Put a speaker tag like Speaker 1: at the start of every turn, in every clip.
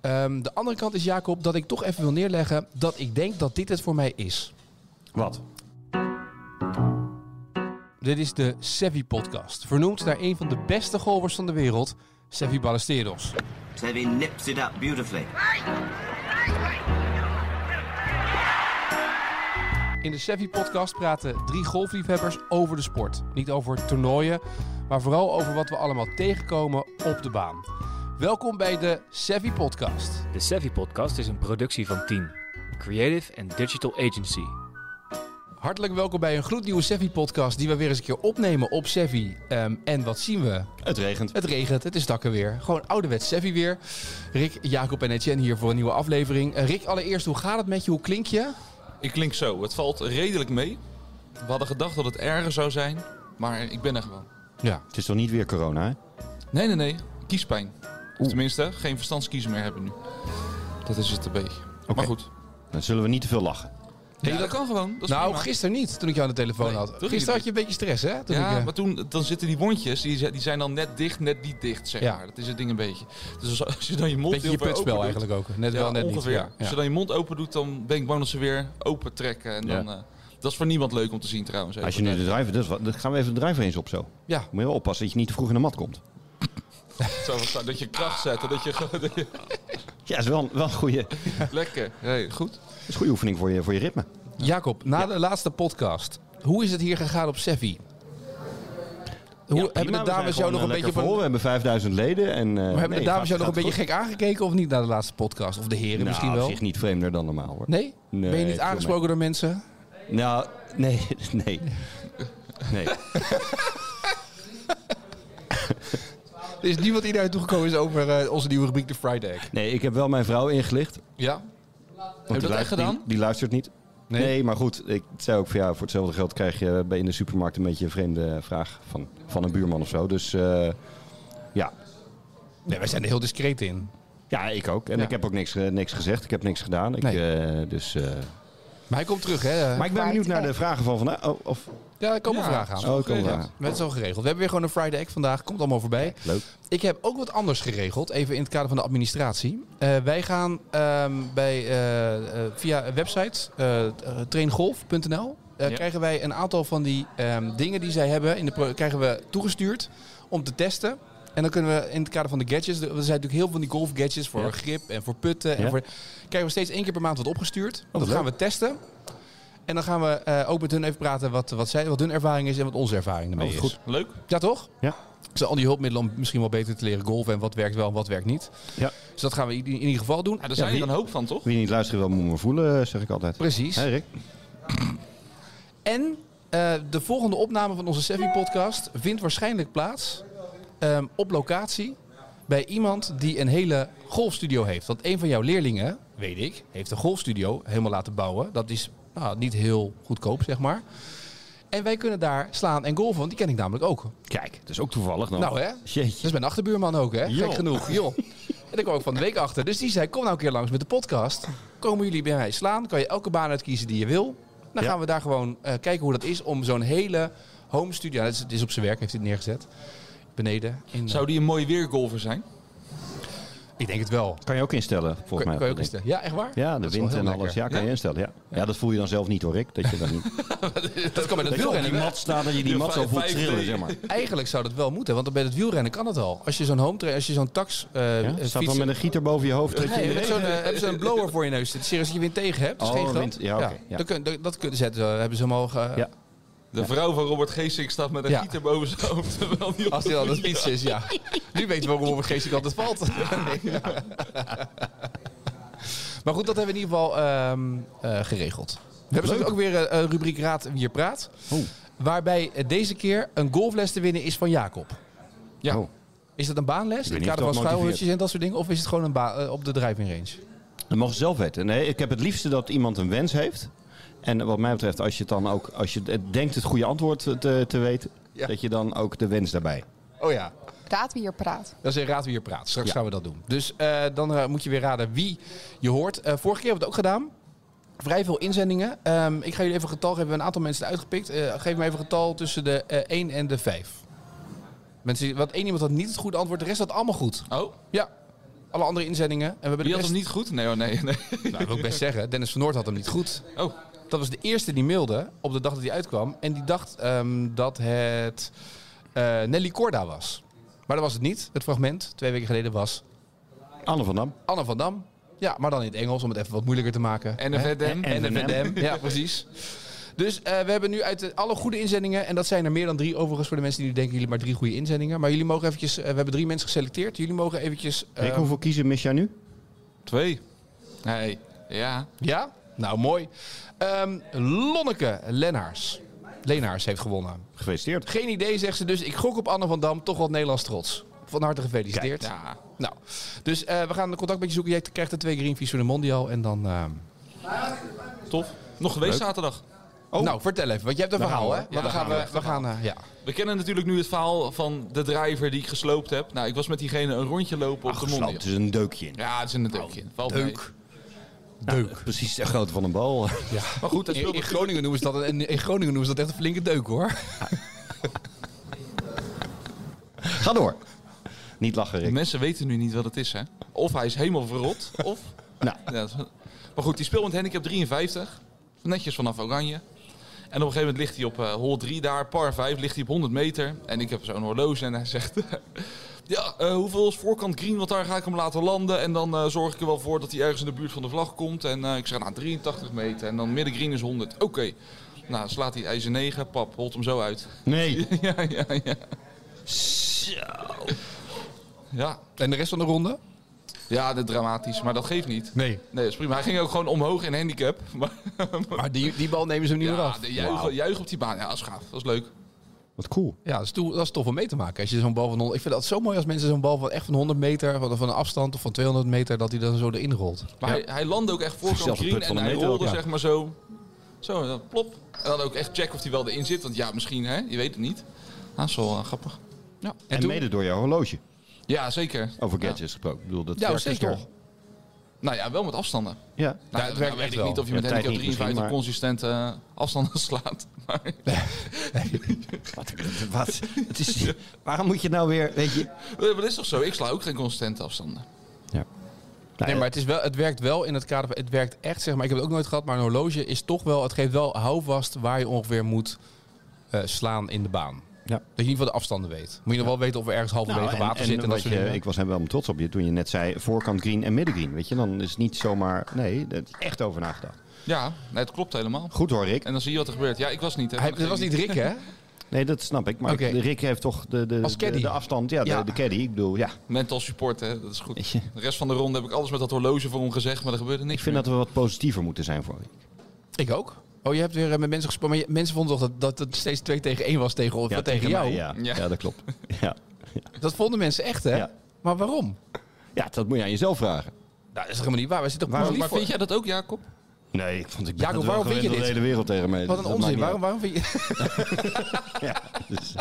Speaker 1: Ehm, de andere kant is, Jacob, dat ik toch even wil neerleggen dat ik denk dat dit het voor mij is.
Speaker 2: Wat?
Speaker 1: Dit is de Sevi podcast, vernoemd naar een van de beste golvers van de wereld, Sevi Ballesteros.
Speaker 3: Sevi nips it up beautifully.
Speaker 1: In de Sevi podcast praten drie golfliefhebbers over de sport. Niet over toernooien, maar vooral over wat we allemaal tegenkomen op de baan. Welkom bij de Sevi podcast.
Speaker 4: De Savvy Podcast is een productie van Team, Creative and Digital Agency.
Speaker 1: Hartelijk welkom bij een gloednieuwe Sevi podcast die we weer eens een keer opnemen op Sevi. Ehm, en wat zien we?
Speaker 2: Het regent.
Speaker 1: Het regent, het is dakken weer. Gewoon ouderwets Sevi weer. Rick, Jacob en Etienne hier voor een nieuwe aflevering. Eh, Rick, allereerst, hoe gaat het met je? Hoe klink je?
Speaker 5: Ik klink zo. Het valt redelijk mee. We hadden gedacht dat het erger zou zijn, maar ik ben er gewoon.
Speaker 1: Ja.
Speaker 2: Het is toch niet weer corona, hè?
Speaker 5: Nee, nee, nee. Kiespijn. Of tenminste, geen verstandskiezen meer hebben nu. Dat is het een beetje. Maar goed.
Speaker 2: Dan zullen we niet te veel lachen.
Speaker 5: Ja, dat kan gewoon. Dat is
Speaker 1: Nou,
Speaker 5: prima.
Speaker 1: gisteren niet, toen ik jou aan de telefoon
Speaker 5: Nee,
Speaker 1: had.
Speaker 5: toen niet.
Speaker 1: Gisteren had je een beetje stress, hè? Toen ik,
Speaker 5: Ja,
Speaker 1: eh,
Speaker 5: maar toen dan zitten die wondjes, die, zi- die zijn dan net dicht, net niet dicht, zeg
Speaker 1: Ja.
Speaker 5: maar. Dat is het ding een beetje. Dus als, als je dan je mond
Speaker 1: beetje je
Speaker 5: heel ver
Speaker 1: putspel
Speaker 5: open doet-
Speaker 1: eigenlijk ook. Net
Speaker 5: Ja,
Speaker 1: wel, net
Speaker 5: ongeveer.
Speaker 1: niet. Ja.
Speaker 5: Als je dan je mond open doet, dan ben ik bang dat ze weer open trekken. En
Speaker 2: Ja.
Speaker 5: dan, eh, dat is voor niemand leuk om te zien trouwens.
Speaker 2: Als je nu de driver... Dus, wat- dan gaan we even de driver eens op zo.
Speaker 1: Ja.
Speaker 2: Moet je wel oppassen dat je niet te vroeg in de mat komt.
Speaker 5: Zo, zo, dat je kracht zet, en dat je... gewoon- dat je-
Speaker 2: Ja, is wel, wel een goede,
Speaker 5: Lekker. Hey, goed.
Speaker 2: is een goede oefening voor je, voor je ritme.
Speaker 1: Jacob, na de laatste podcast, hoe is het hier gegaan op Sevi? Hoe, hebben de dames jou nog een beetje van,
Speaker 2: eh, We hebben 5000 leden en... eh,
Speaker 1: hebben
Speaker 2: nee,
Speaker 1: de dames
Speaker 2: gaat-
Speaker 1: jou nog een
Speaker 2: gaat
Speaker 1: beetje gek aangekeken of niet na de laatste podcast? Of de heren
Speaker 2: Nou,
Speaker 1: misschien
Speaker 2: op
Speaker 1: wel?
Speaker 2: zich niet vreemder dan normaal, hoor.
Speaker 1: Nee?
Speaker 2: Nee,
Speaker 1: Ben je
Speaker 2: ik
Speaker 1: niet
Speaker 2: wil
Speaker 1: aangesproken door mensen?
Speaker 2: Nou, nee, nee. Nee.
Speaker 1: Er is niemand die naartoe gekomen is over eh, onze nieuwe rubriek, de Friday Egg.
Speaker 2: Nee, ik heb wel mijn vrouw ingelicht.
Speaker 1: Ja?
Speaker 2: Heb
Speaker 5: je dat echt gedaan?
Speaker 2: Die, die luistert niet. Nee. maar goed, ik zei ook van ja, voor hetzelfde geld krijg je bij in de supermarkt een beetje een vreemde vraag van, van een buurman of zo. Dus eh, ja.
Speaker 1: Nee, wij zijn er heel discreet in.
Speaker 2: ja, ik ook. En
Speaker 1: Ja.
Speaker 2: ik heb ook niks, eh, niks gezegd, ik heb niks gedaan. Ik,
Speaker 1: Nee.
Speaker 2: eh, dus, eh,
Speaker 1: Maar hij komt terug, hè?
Speaker 2: maar ik ben benieuwd naar de vragen van vandaag. Oh, of,
Speaker 1: Ja, er komen
Speaker 5: Ja.
Speaker 1: vragen aan.
Speaker 2: oh, ik kan
Speaker 5: geregeld.
Speaker 2: vragen.
Speaker 1: Maar het is al geregeld. We hebben weer gewoon een Friday Egg vandaag. Komt allemaal voorbij.
Speaker 2: Leuk.
Speaker 1: Ik heb ook wat anders geregeld, even in het kader van de administratie. Eh, wij gaan ehm, bij, eh, eh, via een website, eh, eh, traingolf.nl, eh,
Speaker 5: Ja.
Speaker 1: krijgen wij een aantal van die ehm, dingen die zij hebben, in de pro- krijgen we toegestuurd om te testen. En dan kunnen we in het kader van de gadgets, de- er zijn natuurlijk heel veel van die golf gadgets voor
Speaker 2: Ja.
Speaker 1: grip en voor putten. En
Speaker 2: Ja. Oh,
Speaker 1: voor, krijgen we steeds één keer per maand wat opgestuurd.
Speaker 2: wat
Speaker 1: dat gaan
Speaker 2: leuk.
Speaker 1: we testen. En dan gaan we eh, ook met hun even praten wat, wat, zij, wat hun ervaring is en wat onze ervaring ermee
Speaker 2: Oh,
Speaker 1: is.
Speaker 2: goed.
Speaker 5: Leuk. Nou,
Speaker 1: Ja, toch?
Speaker 2: Ja.
Speaker 1: Zijn al die hulpmiddelen om misschien wel beter te leren golven en wat werkt wel en wat werkt niet.
Speaker 2: Ja.
Speaker 1: Dus dat gaan we in, in ieder geval doen.
Speaker 5: Ja, daar zijn
Speaker 2: wie-
Speaker 5: er een hoop van, toch?
Speaker 2: Wie niet luistert wil, moet me voelen, zeg ik altijd.
Speaker 1: Precies.
Speaker 2: Hey Rick.
Speaker 1: En eh, de volgende opname van onze Sevi-podcast vindt waarschijnlijk plaats ehm, op locatie bij iemand die een hele golfstudio heeft. Want een van jouw leerlingen, weet ik, heeft een golfstudio helemaal laten bouwen. Dat is nou, niet heel goedkoop, zeg maar. En wij kunnen daar slaan en golven, want die ken ik namelijk ook.
Speaker 2: Kijk, het is ook toevallig nog.
Speaker 1: Nou, hè? Dat
Speaker 2: Jeetje.
Speaker 1: is mijn achterbuurman ook, hè?
Speaker 2: Joh.
Speaker 1: Gek genoeg, joh. En daar kwam ik van de week achter. Dus die zei, kom nou een keer langs met de podcast. Komen jullie bij mij slaan? Kan je elke baan uitkiezen die je wil? Dan
Speaker 2: Ja.
Speaker 1: gaan we daar gewoon eh, kijken hoe dat is om zo'n hele home studio... Het is, het is op zijn werk, heeft hij het neergezet. Beneden. In, eh,
Speaker 5: Zou die een mooie weergolfer zijn?
Speaker 1: Ik denk het wel.
Speaker 2: Kan je ook instellen, volgens
Speaker 1: Kan,
Speaker 2: mij.
Speaker 1: kan je ook
Speaker 2: dat
Speaker 1: eens- Ja, echt waar?
Speaker 2: Ja, de
Speaker 1: Dat is wel
Speaker 2: wind
Speaker 1: heel
Speaker 2: en
Speaker 1: lekker.
Speaker 2: alles. Ja, kan je instellen. Ja. ja, dat voel je dan zelf niet hoor, Rick. Dat je dan niet.
Speaker 1: Dat kan bij het
Speaker 2: dat je op die
Speaker 1: wielrennen.
Speaker 2: mat staat en je die
Speaker 5: De
Speaker 2: mat zo voelt
Speaker 5: 5D.
Speaker 2: trillen, zeg maar.
Speaker 1: Eigenlijk zou dat wel moeten, want bij het wielrennen kan het al. Als je zo'n home train, als je zo'n tax eh
Speaker 2: Ja? Staat dan
Speaker 1: fietsen-
Speaker 2: met een gieter boven je hoofd. Dat je
Speaker 1: Nee, met zo'n eh, hebben ze een blower voor je neus. Het serieus dat je wind tegen hebt. Dat is
Speaker 2: Oh,
Speaker 1: geen grap.
Speaker 2: wind. Ja, oké, ja.
Speaker 1: Dat, kun, dat, dat kunnen zetten. hebben ze omhoog. eh,
Speaker 2: Ja.
Speaker 5: De vrouw van Robert Geesink staat met een
Speaker 1: Ja.
Speaker 5: gieter boven zijn hoofd. terwijl die op
Speaker 1: Als
Speaker 5: de
Speaker 1: hij al aan het
Speaker 5: fiets-
Speaker 1: fietsen is, ja. Nu weten we waarom op een geestelijk altijd valt. Ja. Maar goed, dat hebben we in ieder geval ehm, eh, geregeld. We hebben straks ook weer eh, een rubriek Raad wie je praat.
Speaker 2: Oeh.
Speaker 1: Waarbij eh, deze keer een golfles te winnen is van Jacob.
Speaker 2: Ja. Oh,
Speaker 1: Is dat een baanles?
Speaker 2: Ik weet
Speaker 1: In het
Speaker 2: niet
Speaker 1: kader
Speaker 2: of
Speaker 1: van
Speaker 2: dat motiveert.
Speaker 1: schuilhutjes en dat soort dingen? Of is het gewoon een ba- eh, op de driving range?
Speaker 2: dat mogen ze zelf weten. Nee, ik heb het liefste dat iemand een wens heeft. En wat mij betreft, als je het dan ook, als je het denkt het goede antwoord te, te weten,
Speaker 1: Ja.
Speaker 2: dat je dan ook de wens daarbij.
Speaker 1: Oh ja,
Speaker 6: Raad wie hier praat.
Speaker 1: Dat is in Raad wie je praat. Straks gaan we dat doen. Dus eh, dan eh, moet je weer raden wie je hoort. Eh, vorige keer hebben we het ook gedaan. Vrij veel inzendingen. Ehm, ik ga jullie even een getal geven. We hebben een aantal mensen eruit gepikt. Eh, geef me even een getal tussen de eh, 1 en de 5. Mensen, die- wat één iemand had niet het goede antwoord. De rest had allemaal goed.
Speaker 5: Oh,
Speaker 1: Ja. alle andere inzendingen. En we hebben
Speaker 5: Wie
Speaker 1: de
Speaker 5: had
Speaker 1: best...
Speaker 5: hem niet goed? Nee, oh, nee, nee.
Speaker 1: Nou, dat wil ik best zeggen. Dennis van Noord had hem niet goed.
Speaker 5: Oh,
Speaker 1: Dat was de eerste die mailde op de dag dat hij uitkwam. En die dacht ehm, dat het eh, Nelly Corda was. Maar dat was het niet. Het fragment twee weken geleden was
Speaker 2: Anne van Dam.
Speaker 1: Anne van Dam. Ja, maar dan in het Engels om het even wat moeilijker te maken.
Speaker 5: en de
Speaker 1: Hè?
Speaker 5: VDM.
Speaker 1: En de VDM. Ja, precies. Dus eh, we hebben nu uit de- alle goede inzendingen, en dat zijn er meer dan drie overigens voor de mensen die nu denken, jullie maar drie goede inzendingen. Maar jullie mogen eventjes, eh, we hebben drie mensen geselecteerd, jullie mogen eventjes... eh,
Speaker 2: Rick, hoeveel kiezen mis jij nu?
Speaker 5: Twee. Nee, ja.
Speaker 1: Ja? Nou, mooi. Ehm, Lonneke Lennaars. Lenaars heeft gewonnen.
Speaker 2: Gefeliciteerd.
Speaker 1: Geen idee, zegt ze dus. Ik gok op Anne van Dam, toch wat Nederlands trots. Van harte gefeliciteerd.
Speaker 5: Ja.
Speaker 1: Nou, dus eh, we gaan de contact met je zoeken. Jij krijgt er twee greenfish voor de Mondial en dan... ehm,
Speaker 5: Tof. Nog geweest zaterdag.
Speaker 1: Nou, vertel even, want jij hebt een verhaal, hè? Want
Speaker 5: Ja,
Speaker 1: dan gaan we...
Speaker 5: nou,
Speaker 1: we gaan, eh, ja.
Speaker 5: We kennen natuurlijk nu het verhaal van de driver die ik gesloopt heb. Nou, ik was met diegene een rondje lopen op de
Speaker 2: Gesloopt,
Speaker 5: Mondial.
Speaker 2: er is een deukje in.
Speaker 5: Ja, het is in het deukje. Valt mee.
Speaker 1: Deuk.
Speaker 2: Precies de grootte van een bal.
Speaker 5: Maar goed, dat
Speaker 1: In,
Speaker 5: speelt
Speaker 1: in Groningen noemen ze dat, een- in Groningen noemen ze dat echt een flinke deuk, hoor.
Speaker 2: Ga door. Niet lachen,
Speaker 5: De
Speaker 2: Rick.
Speaker 5: mensen weten nu niet wat het is, hè? Of hij is helemaal verrot, of...
Speaker 2: Nou.
Speaker 5: Ja, dat is- maar goed, die speelt met handicap 53. Netjes vanaf Oranje. En op een gegeven moment ligt hij op eh hol 3 daar, par 5, ligt hij op 100 meter. En ik heb zo'n horloge en hij zegt... ja, eh, hoeveel is voorkant green, want daar ga ik hem laten landen. En dan eh, zorg ik er wel voor dat hij ergens in de buurt van de vlag komt. En eh, ik zeg, nou, 83 meter. En dan midden green is 100. Oké. Nou, slaat hij het ijzer 9, pap, holt hem zo uit.
Speaker 2: Nee.
Speaker 5: ja, ja, ja. Ja,
Speaker 1: En de rest van de ronde?
Speaker 5: ja, dat is dramatisch, maar dat geeft niet.
Speaker 1: Nee.
Speaker 5: Nee, dat is prima. Hij ging ook gewoon omhoog in handicap. Maar,
Speaker 1: Maar die, die bal nemen ze hem niet meer
Speaker 5: ja,
Speaker 1: af.
Speaker 5: de juichen, juichen op die baan. Ja, dat is gaaf. Dat is leuk.
Speaker 2: Wat cool.
Speaker 1: Ja, dat is, toe- dat is tof om mee te maken. Als je zo'n bal van hond- ik vind dat zo mooi als mensen zo'n bal van echt van 100 meter, van, van een afstand of van 200 meter, dat hij dan zo erin rolt.
Speaker 5: Maar hij, hij landde ook echt voorkant
Speaker 2: Zelfs de
Speaker 5: green
Speaker 2: punt van
Speaker 5: en
Speaker 2: de
Speaker 5: hij
Speaker 2: meter
Speaker 5: rolde
Speaker 2: ook, ja.
Speaker 5: zeg maar zo. Zo, en dan plop. En dan ook echt checken of hij wel erin zit. Want ja, misschien, hè? Je weet het niet. Ah, Dat is wel eh, grappig.
Speaker 2: En,
Speaker 1: toen?
Speaker 2: mede door jouw horloge.
Speaker 5: Ja, zeker.
Speaker 2: Over gadgets gesproken. Ik bedoel, dat
Speaker 1: Ja,
Speaker 2: werkt dus
Speaker 1: zeker.
Speaker 2: toch?
Speaker 5: Nou ja, wel met afstanden.
Speaker 2: Ja.
Speaker 5: Nou,
Speaker 1: het
Speaker 5: nou
Speaker 1: werkt
Speaker 5: weet
Speaker 1: echt
Speaker 5: ik
Speaker 1: wel.
Speaker 5: niet of je
Speaker 2: Ja,
Speaker 5: met
Speaker 2: tijd
Speaker 5: handicap
Speaker 2: niet
Speaker 5: 53
Speaker 2: misschien,
Speaker 5: consistent eh, afstanden slaat. Maar,
Speaker 2: Wat, wat, het is, waarom moet je nou weer, weet je...
Speaker 5: maar dat is toch zo? Ik sla ook geen consistente afstanden.
Speaker 1: Nee, maar het, is wel, het werkt wel in het kader van, het werkt echt, zeg maar, ik heb het ook nooit gehad, maar een horloge is toch wel, het geeft wel houvast waar je ongeveer moet eh, slaan in de baan. Dat
Speaker 2: Ja.
Speaker 1: je in ieder geval de afstanden weet. Moet je nog wel weten of er ergens halverwege
Speaker 2: Nou, en-
Speaker 1: water
Speaker 2: en
Speaker 1: zit en dat
Speaker 2: wat
Speaker 1: soort
Speaker 2: je-
Speaker 1: dingen.
Speaker 2: Ik was helemaal trots op je toen je net zei voorkant green en midden green. Weet je, dan is het niet zomaar... Nee, daar is echt over nagedacht.
Speaker 5: Ja, nee, het klopt helemaal.
Speaker 2: Goed hoor, Rick.
Speaker 5: En dan zie je wat er gebeurt. Ja, ik was niet. Hè,
Speaker 1: Hij,
Speaker 5: Van
Speaker 1: dat was
Speaker 5: Geel.
Speaker 1: niet Rick, hè?
Speaker 2: Nee, dat snap ik. Maar
Speaker 1: Oké.
Speaker 2: Rick heeft toch de, de,
Speaker 1: Als
Speaker 2: de,
Speaker 1: caddy.
Speaker 2: de afstand. Ja,
Speaker 1: Ja.
Speaker 2: De, de caddy. Ik bedoel, ja.
Speaker 5: Mental support, hè, dat is goed.
Speaker 2: Weet je.
Speaker 5: De rest van de ronde heb ik alles met dat horloge voor hem gezegd, maar er gebeurde niks.
Speaker 2: Ik vind
Speaker 5: meer.
Speaker 2: dat we wat positiever moeten zijn voor Rick.
Speaker 1: Ik ook. Oh, je hebt weer eh, met mensen gesproken. Maar je- mensen vonden toch dat, dat het steeds 2 tegen 1 was tegen, of tegen, jou?
Speaker 2: mij, ja.
Speaker 5: Ja.
Speaker 2: Ja. dat klopt. Ja.
Speaker 1: Dat vonden mensen echt, hè?
Speaker 2: Ja.
Speaker 1: Maar waarom?
Speaker 2: ja, dat moet je aan jezelf vragen.
Speaker 1: Nou, dat is toch helemaal niet waar. Wij zitten op
Speaker 2: Waarom-
Speaker 1: ons
Speaker 5: Maar
Speaker 1: lief
Speaker 5: vind
Speaker 1: voor.
Speaker 5: jij dat ook, Jacob?
Speaker 2: Nee, ik vond ik ben
Speaker 1: Jacob,
Speaker 2: het wel
Speaker 1: waarom vind je
Speaker 2: gewend
Speaker 1: dit?
Speaker 2: dat de hele wereld tegen mij.
Speaker 1: Wat
Speaker 2: dus Dat
Speaker 1: een
Speaker 2: maakt
Speaker 1: onzin.
Speaker 2: niet
Speaker 1: Waarom, waarom vind je...
Speaker 2: uit. Dus,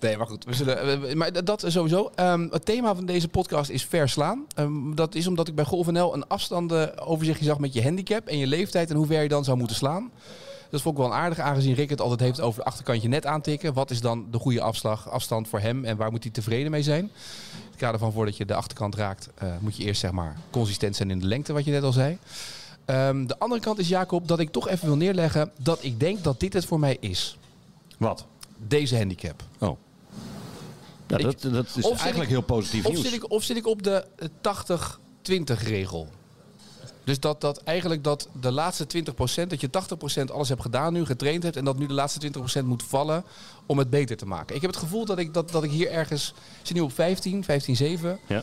Speaker 1: Nee, maar goed. We zullen, we- we- maar dat sowieso. Ehm, het thema van deze podcast is verslaan. Ehm, dat is omdat ik bij GolfNL een afstandenoverzichtje zag met je handicap en je leeftijd en hoe ver je dan zou moeten slaan. Dat vond ik wel aardig, aangezien Rick het altijd heeft over de achterkantje net aantikken. Wat is dan de goede afslag, afstand voor hem en waar moet hij tevreden mee zijn? In het kader van voordat je de achterkant raakt, eh, moet je eerst zeg maar consistent zijn in de lengte, wat je net al zei. Ehm, de andere kant is, Jacob, dat ik toch even wil neerleggen dat ik denk dat dit het voor mij is.
Speaker 2: wat?
Speaker 1: Deze handicap.
Speaker 2: Oh. Ja,
Speaker 1: Ik-
Speaker 2: dat, dat is
Speaker 1: zit
Speaker 2: eigenlijk
Speaker 1: ik-
Speaker 2: heel positief
Speaker 1: Of
Speaker 2: nieuws.
Speaker 1: zit, ik, of zit ik op de eh, 80-20 regel? Dus dat, dat eigenlijk dat de laatste 20%, dat je 80% alles hebt gedaan nu, getraind hebt... en dat nu de laatste 20% moet vallen om het beter te maken. Ik heb het gevoel dat ik, dat, dat ik hier ergens... Ik zit nu op 15, 15, 7.
Speaker 2: Ja.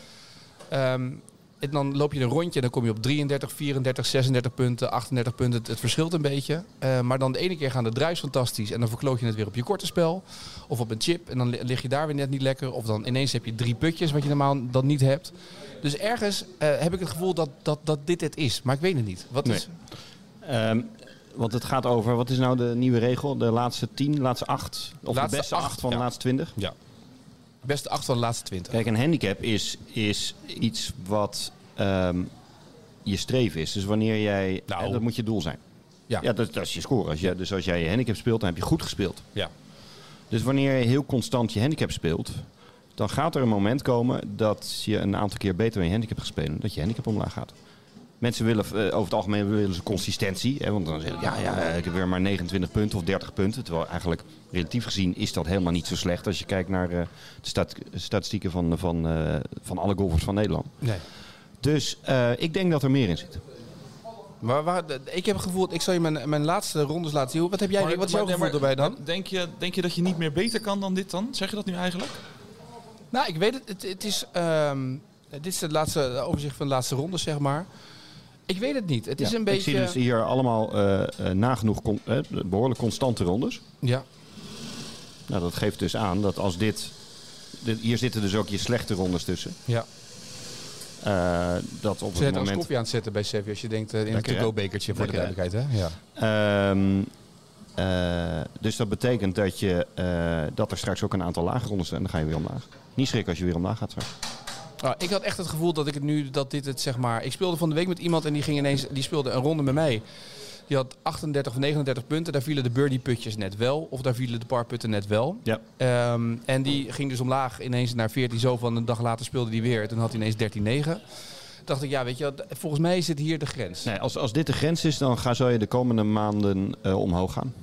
Speaker 1: Ehm, en dan loop je een rondje en dan kom je op 33, 34, 36 punten, 38 punten. Het, het verschilt een beetje. Eh, maar dan de ene keer gaan de druis fantastisch en dan verkloot je het weer op je korte spel. Of op een chip en dan li- lig je daar weer net niet lekker. Of dan ineens heb je drie putjes wat je normaal dan niet hebt. Dus ergens eh, heb ik het gevoel dat, dat, dat dit het is. Maar ik weet het niet. Wat
Speaker 2: Nee.
Speaker 1: is...
Speaker 2: Ehm, want het gaat over, wat is nou de nieuwe regel? De laatste tien, laatste acht? Of
Speaker 1: Laatste
Speaker 2: de beste
Speaker 1: acht,
Speaker 2: acht, van
Speaker 1: ja.
Speaker 2: de laatste twintig?
Speaker 1: Ja. Beste acht van de laatste 20.
Speaker 2: Kijk, een handicap is, is iets wat ehm, je streven is. Dus wanneer jij...
Speaker 1: Nou.
Speaker 2: hè, dat moet je doel zijn.
Speaker 1: Ja.
Speaker 2: Ja, dat, dat is je score. Als je, dus als jij je handicap speelt, dan heb je goed gespeeld.
Speaker 1: Ja.
Speaker 2: Dus wanneer je heel constant je handicap speelt... dan gaat er een moment komen dat je een aantal keer beter met je handicap gaat spelen. Dat je handicap omlaag gaat. Mensen willen eh, over het algemeen willen ze consistentie. Hè, want dan zeggen ze, ja, ja, eh, ik heb weer maar 29 punten of 30 punten. Terwijl eigenlijk relatief gezien is dat helemaal niet zo slecht. Als je kijkt naar eh, de stat- statistieken van, van, eh, van alle golfers van Nederland.
Speaker 1: Nee.
Speaker 2: Dus eh, ik denk dat er meer in zit.
Speaker 1: Maar waar, de- ik heb het gevoel, ik zal je mijn, mijn laatste rondes laten zien. Wat, heb jij,
Speaker 5: Maar-
Speaker 1: wat is jouw
Speaker 5: maar-
Speaker 1: gevoel
Speaker 5: maar-
Speaker 1: erbij dan?
Speaker 5: Denk je, denk je dat je niet meer beter kan dan dit dan? Zeg je dat nu eigenlijk?
Speaker 1: Nou, ik weet het. Het, het is, ehm, dit is het laatste het overzicht van de laatste ronde, zeg maar. Ik weet het niet. Het is
Speaker 2: Ja,
Speaker 1: een
Speaker 2: Ik zie
Speaker 1: beetje...
Speaker 2: dus hier allemaal eh, eh, nagenoeg con- eh, behoorlijk constante rondes.
Speaker 1: ja.
Speaker 2: Nou, dat geeft dus aan dat als dit, dit- Hier zitten dus ook je slechte rondes tussen.
Speaker 1: ja.
Speaker 2: Eh, dat op
Speaker 1: Ze
Speaker 2: het
Speaker 1: zijn als
Speaker 2: moment...
Speaker 1: koffie aan het zetten bij Sevi, als je denkt eh, in
Speaker 2: Lekker,
Speaker 1: een
Speaker 2: hè?
Speaker 1: to-go-bekertje, voor
Speaker 2: Lekker,
Speaker 1: de duidelijkheid. Hè? Ja.
Speaker 2: Ehm, eh, dus dat betekent dat, je, eh, dat er straks ook een aantal lage rondes zijn. En dan ga je weer omlaag. Niet schrikken als je weer omlaag gaat. straks.
Speaker 1: Nou, ik had echt het gevoel dat ik het nu, dat dit het zeg maar. Ik speelde van de week met iemand en die ging ineens, die speelde een ronde met mij. Die had 38 of 39 punten. Daar vielen de birdie putjes net wel, of daar vielen de par putten net wel.
Speaker 2: Ja.
Speaker 1: Ehm, en die ging dus omlaag ineens naar 14 zo van een dag later speelde die weer. Toen had hij ineens 13-9. Dacht ik, ja, weet je, wat, volgens mij zit hier de grens.
Speaker 2: Nee, als, als dit de grens is, dan ga, zal je de komende maanden eh, omhoog gaan.